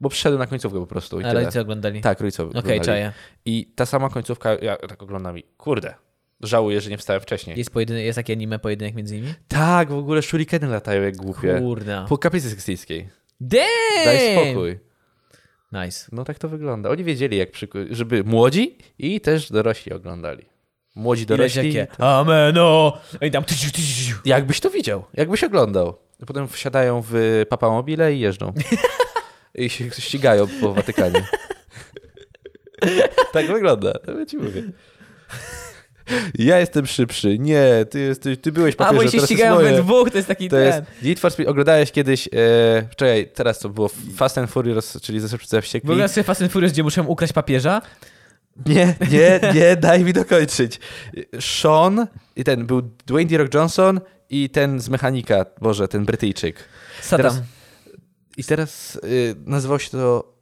bo przyszedłem na końcówkę po prostu i A tyle. rodzice oglądali. Tak, rodzicowie. Okej, oglądali. czaję. I ta sama końcówka, ja tak oglądam i kurde, żałuję, że nie wstałem wcześniej. Jest, pojedyn- jest takie anime pojedynek między nimi? Tak, w ogóle shurikeny latają jak głupie. Kurna. Po kaplicy sekstyjskiej. Damn! Daj spokój. Nice. No tak to wygląda. Oni wiedzieli, jak przyku- żeby młodzi i też dorośli oglądali. Młodzi Dorośli. dorośli. Jakie? Ameno! I tam... tyś, tyś, tyś. Jakbyś to widział, jakbyś oglądał. Potem wsiadają w papamobile i jeżdżą. I się ścigają po Watykanie. Tak wygląda. To ja ci mówię. Ja jestem szybszy. Nie, ty, jesteś, ty byłeś A, bo papieżem, i się teraz ścigają jest moje. we dwóch, to jest taki To ten. jest Need for Speed. Oglądałeś kiedyś, e, czekaj, teraz to było Fast and Furious, czyli Zeszepcy Bo Wściekli. oglądasz sobie Fast and Furious, gdzie muszę ukraść papieża? Nie, nie, nie, daj mi dokończyć. Sean i ten był Dwayne The Rock Johnson i ten z mechanika, Boże, ten Brytyjczyk. Sadam. Teraz- I teraz y, nazywał się to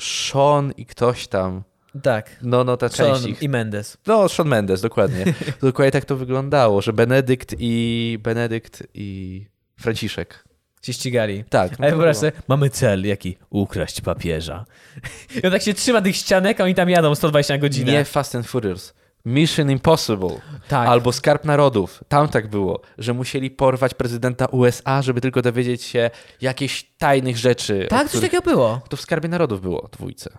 Sean i ktoś tam. Tak. No, no, ta część Sean ich. i Mendes. No, Sean Mendes, dokładnie. dokładnie tak to wyglądało, że Benedykt i Benedykt i Franciszek. Się ścigali. Tak. A ja to wyobraź było. sobie, mamy cel jaki? Ukraść papieża. I on tak się trzyma tych ścianek, a oni tam jadą 120 na godzinę. Nie Fast and Furious. Mission Impossible. tak. Albo Skarb Narodów. Tam tak było, że musieli porwać prezydenta USA, żeby tylko dowiedzieć się jakichś tajnych rzeczy. o tak, coś których- takiego było. To w Skarbie Narodów było, dwójce.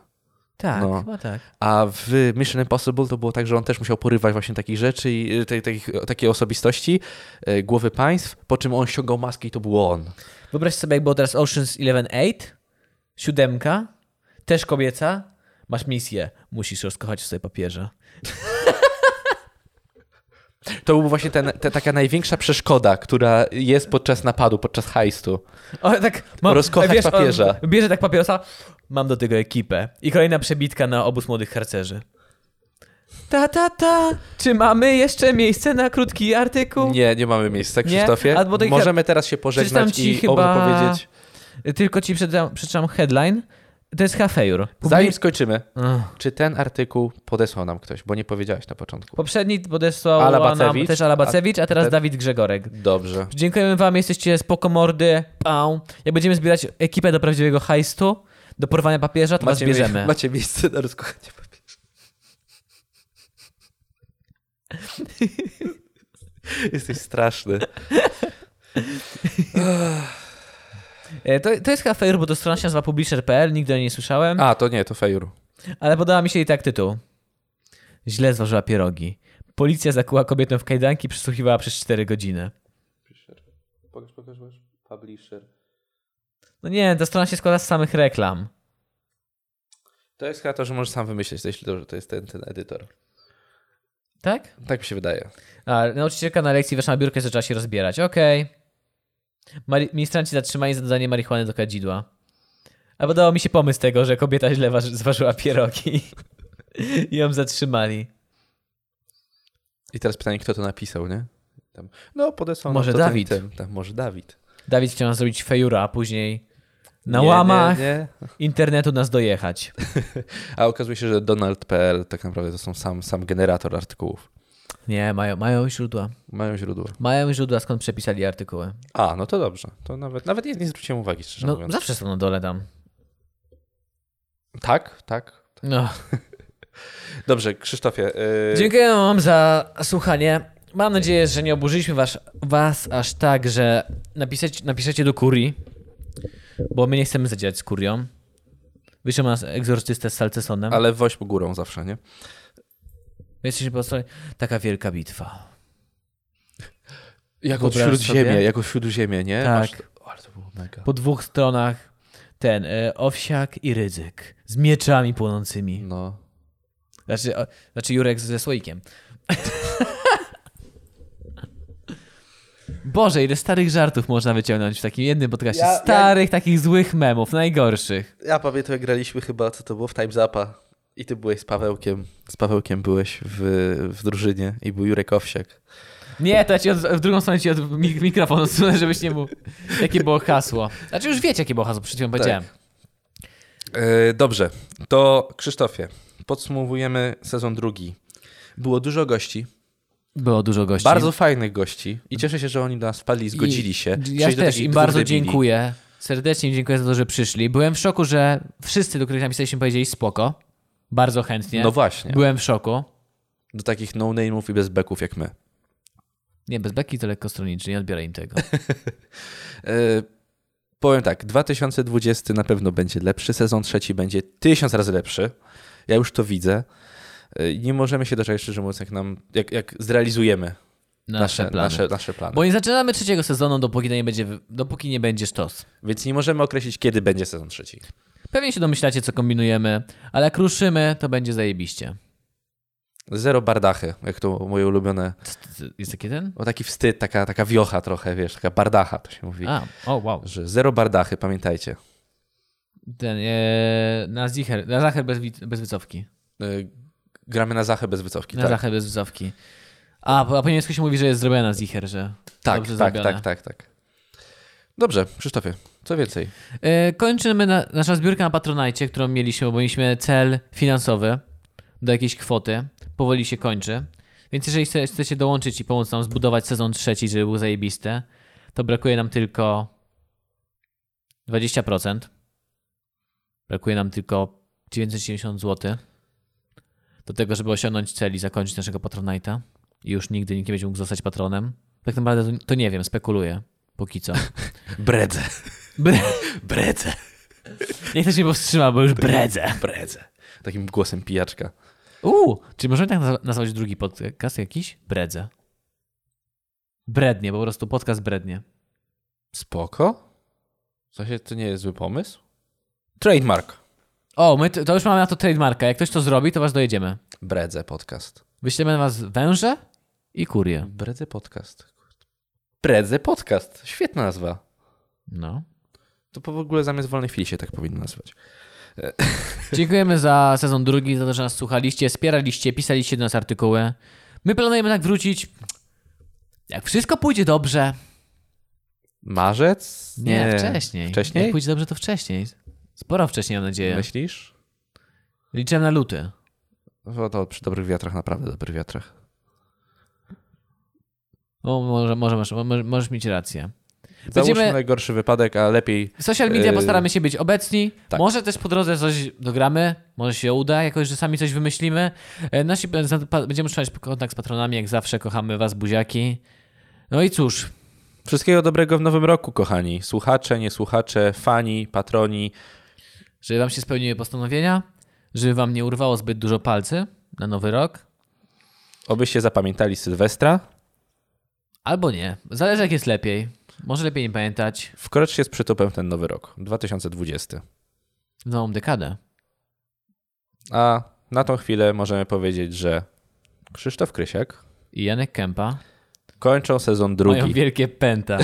Tak, No. chyba tak. A w Mission Impossible to było tak, że on też musiał porywać właśnie takich rzeczy, i te, takich, takie osobistości, e, głowy państw, po czym on ściągał maskę i to był on. Wyobraź sobie, jak było teraz Ocean's Eleven 8, siódemka, też kobieca, masz misję, musisz rozkochać sobie papieża. To był właśnie ten, te, taka największa przeszkoda, która jest podczas napadu, podczas hajstu. O, tak, mam, Rozkochać on papieża. bierze tak papierosa, mam do tego ekipę. I kolejna przebitka na obóz młodych harcerzy. Ta, ta, ta, czy mamy jeszcze miejsce na krótki artykuł? Nie, nie mamy miejsca, Nie? Krzysztofie. Albo tej- Możemy teraz się Przeczytam pożegnać ci i chyba- chyba... powiedzieć. Tylko ci przeczytam, przeczytam headline. To jest Hafejur. Zanim skończymy, Ugh. czy ten artykuł podesłał nam ktoś, bo nie powiedziałeś na początku. Poprzedni podesłał nam Alabacewicz, też Alabacewicz, a teraz ten- Dawid Grzegorek. Dobrze. Dziękujemy wam, jesteście spoko mordy. Pau. Jak będziemy zbierać ekipę do prawdziwego hajstu, do porwania papieża, to was bierzemy. macie miejsce na rozkochanie papieża. Jesteś straszny. E, To, to jest Hafejur, bo to strona się nazywa publisher.pl, nigdy o niej nie słyszałem. A, to nie, to fejur. Ale podoba mi się i tak tytuł. Źle zważyła pierogi. Policja zakuła kobietę w kajdanki, przesłuchiwała przez 4 godziny. Pokaż, pokaż, pokaż. Publisher. No nie, ta strona się składa z samych reklam. To jest chyba to, że możesz sam wymyśleć, jeśli to, że to jest ten, ten edytor. Tak? Tak mi się wydaje. A, nauczycielka na lekcji weszła na biurkę i zaczęła się rozbierać. Okej. Mari- ministranci zatrzymani za dodanie marihuany do kadzidła. A podobał mi się pomysł tego, że kobieta źle waży- zważyła pierogi. I ją zatrzymali. I teraz pytanie, kto to napisał, nie? Tam. No, podesłał Może nam to Dawid. Ten, ten, tam, może Dawid. Dawid chciał nas zrobić fejura, a później na Nie, nie, łamach nie. internetu nas dojechać. A okazuje się, że Donald.pl tak naprawdę to są sam, sam generator artykułów. Nie, mają, mają źródła. Mają źródło. Mają źródła, skąd przepisali artykuły. A, no to dobrze. To nawet, nawet nie, nie zwróciłem uwagi, szczerze No, mówiąc. zawsze są na dole tam. Tak, tak. No. Dobrze, Krzysztofie. Yy... Dziękuję wam za słuchanie. Mam nadzieję, że nie oburzyliśmy was, was aż tak, że napiszecie, napiszecie do kurii, bo my nie chcemy zadzierać z kurią. Wyszło nas egzorcystę z Salcesonem. Ale woźb górą zawsze, nie? My jesteśmy po stronie. Taka wielka bitwa. Jako Wyobrażasz śródziemie, sobie? jako śródziemie, nie? Tak. O, ale to było mega. Po dwóch stronach ten e, owsiak i ryzyk z mieczami płonącymi. No. Znaczy, o, znaczy Jurek ze słoikiem. Boże, ile starych żartów można wyciągnąć w takim jednym podcastie. Ja- ja- starych, takich złych memów, najgorszych. Ja pamiętam, jak graliśmy chyba, co to było w Time Zapa. I ty byłeś z Pawełkiem. Z Pawełkiem byłeś w, w drużynie i był Jurek Owsiak. Nie, to ja ci od, w drugą stronę ci od mik- mikrofon odsunę, żebyś nie mógł. Jakie było hasło. Znaczy już wiecie, jakie było hasło, przed Tak. chwilą powiedziałem. E, dobrze, to Krzysztofie, podsumowujemy sezon drugi. Było dużo gości, Było dużo gości. bardzo fajnych gości i cieszę się, że oni do nas wpadli, zgodzili się. I, ja Przejść do też takich im dwóch bardzo debili. dziękuję. Serdecznie im dziękuję za to, że przyszli. Byłem w szoku, że wszyscy, do których napisaliśmy, powiedzieli spoko. Bardzo chętnie. No właśnie, Byłem w szoku. do takich no-name'ów i bezbeków jak my. Nie, bez beki to lekko stronniczy, nie odbiorę im tego. E, powiem tak, 2020 na pewno będzie lepszy, sezon trzeci będzie tysiąc razy lepszy. Ja już to widzę. E, Nie możemy się doczekać, szczerze mówiąc, jak, nam, jak, jak zrealizujemy Nasze, nasze, plany. nasze, nasze plany. Bo nie zaczynamy trzeciego sezonu, dopóki to nie będzie, dopóki nie będzie sztos. Więc nie możemy określić, kiedy będzie sezon trzeci. Pewnie się domyślacie, co kombinujemy, ale jak ruszymy, to będzie zajebiście. Zero bardachy, jak to moje ulubione. C- c- Jest taki ten? O taki wstyd, taka, taka wiocha trochę, wiesz, taka bardacha to się mówi. A, o wow. Że zero bardachy, pamiętajcie. Ten, e, na zicher, na zacher bez, wi- bez wycofki. Y, Gramy na zachę bez wycofki. Na tak, zacher bez wycofki. A, po, a po niemiecku się mówi, że jest zrobiona na zicher, że tak, dobrze tak, zrobione. tak, tak, tak. Dobrze, Krzysztofie, co więcej? E, Kończymy na, naszą zbiórkę na Patronajcie, którą mieliśmy, bo mieliśmy cel finansowy do jakiejś kwoty. Powoli się kończy. Więc jeżeli chce- chcecie dołączyć i pomóc nam zbudować sezon trzeci, żeby był zajebisty, to brakuje nam tylko 20%. Brakuje nam tylko 970 zł do tego, żeby osiągnąć cel i zakończyć naszego Patronite'a. I już nigdy nikt nie będzie mógł zostać patronem. Tak naprawdę to, to nie wiem, spekuluję. Póki co. Bredze, Bre- bredze, Niech ktoś mnie powstrzyma, bo już bredzę. bredze. Takim głosem pijaczka. Uuu, czy możemy tak nazwa- nazwać drugi podcast jakiś? Bredzę. Brednie, po prostu podcast brednie. Spoko? W sensie to nie jest zły pomysł? Trademark. O, my t- to już mamy na to trademarka. Jak ktoś to zrobi, to was dojedziemy. Bredze podcast. Wyślemy na was węże i kurię. Bredze podcast. Bredze podcast. Świetna nazwa. No. To po w ogóle zamiast wolnej chwili się tak powinno nazwać. Dziękujemy za sezon drugi, za to, że nas słuchaliście, wspieraliście, pisaliście do nas artykuły. My planujemy tak wrócić. Jak wszystko pójdzie dobrze. Marzec? Nie, wcześniej. Wcześniej? Jak pójdzie dobrze, to wcześniej. Sporo wcześniej, mam nadzieję. Myślisz? Liczę na luty. No to przy dobrych wiatrach, naprawdę dobrych wiatrach. O, może, może, masz, może, możesz mieć rację. Załóżmy Będziemy- najgorszy wypadek, a lepiej W social media Yy, postaramy się być obecni. tak. Może też po drodze coś dogramy, może się uda, jakoś, że sami coś wymyślimy. E, Nasi, będziemy trzymać kontakt z patronami, jak zawsze kochamy was, buziaki. No i cóż, Wszystkiego dobrego w nowym roku, kochani. Słuchacze, niesłuchacze, fani, patroni. żeby wam się spełniły postanowienia, żeby wam nie urwało zbyt dużo palcy na nowy rok, Obyście zapamiętali Sylwestra. albo nie. Zależy jak jest lepiej. Może lepiej nie pamiętać Wkroczcie z przytupem w ten nowy rok, 2020. w nową dekadę. A na tą chwilę możemy powiedzieć, że Krzysztof Krysiak I Janek Kępa kończą sezon drugi. mają wielkie pęta.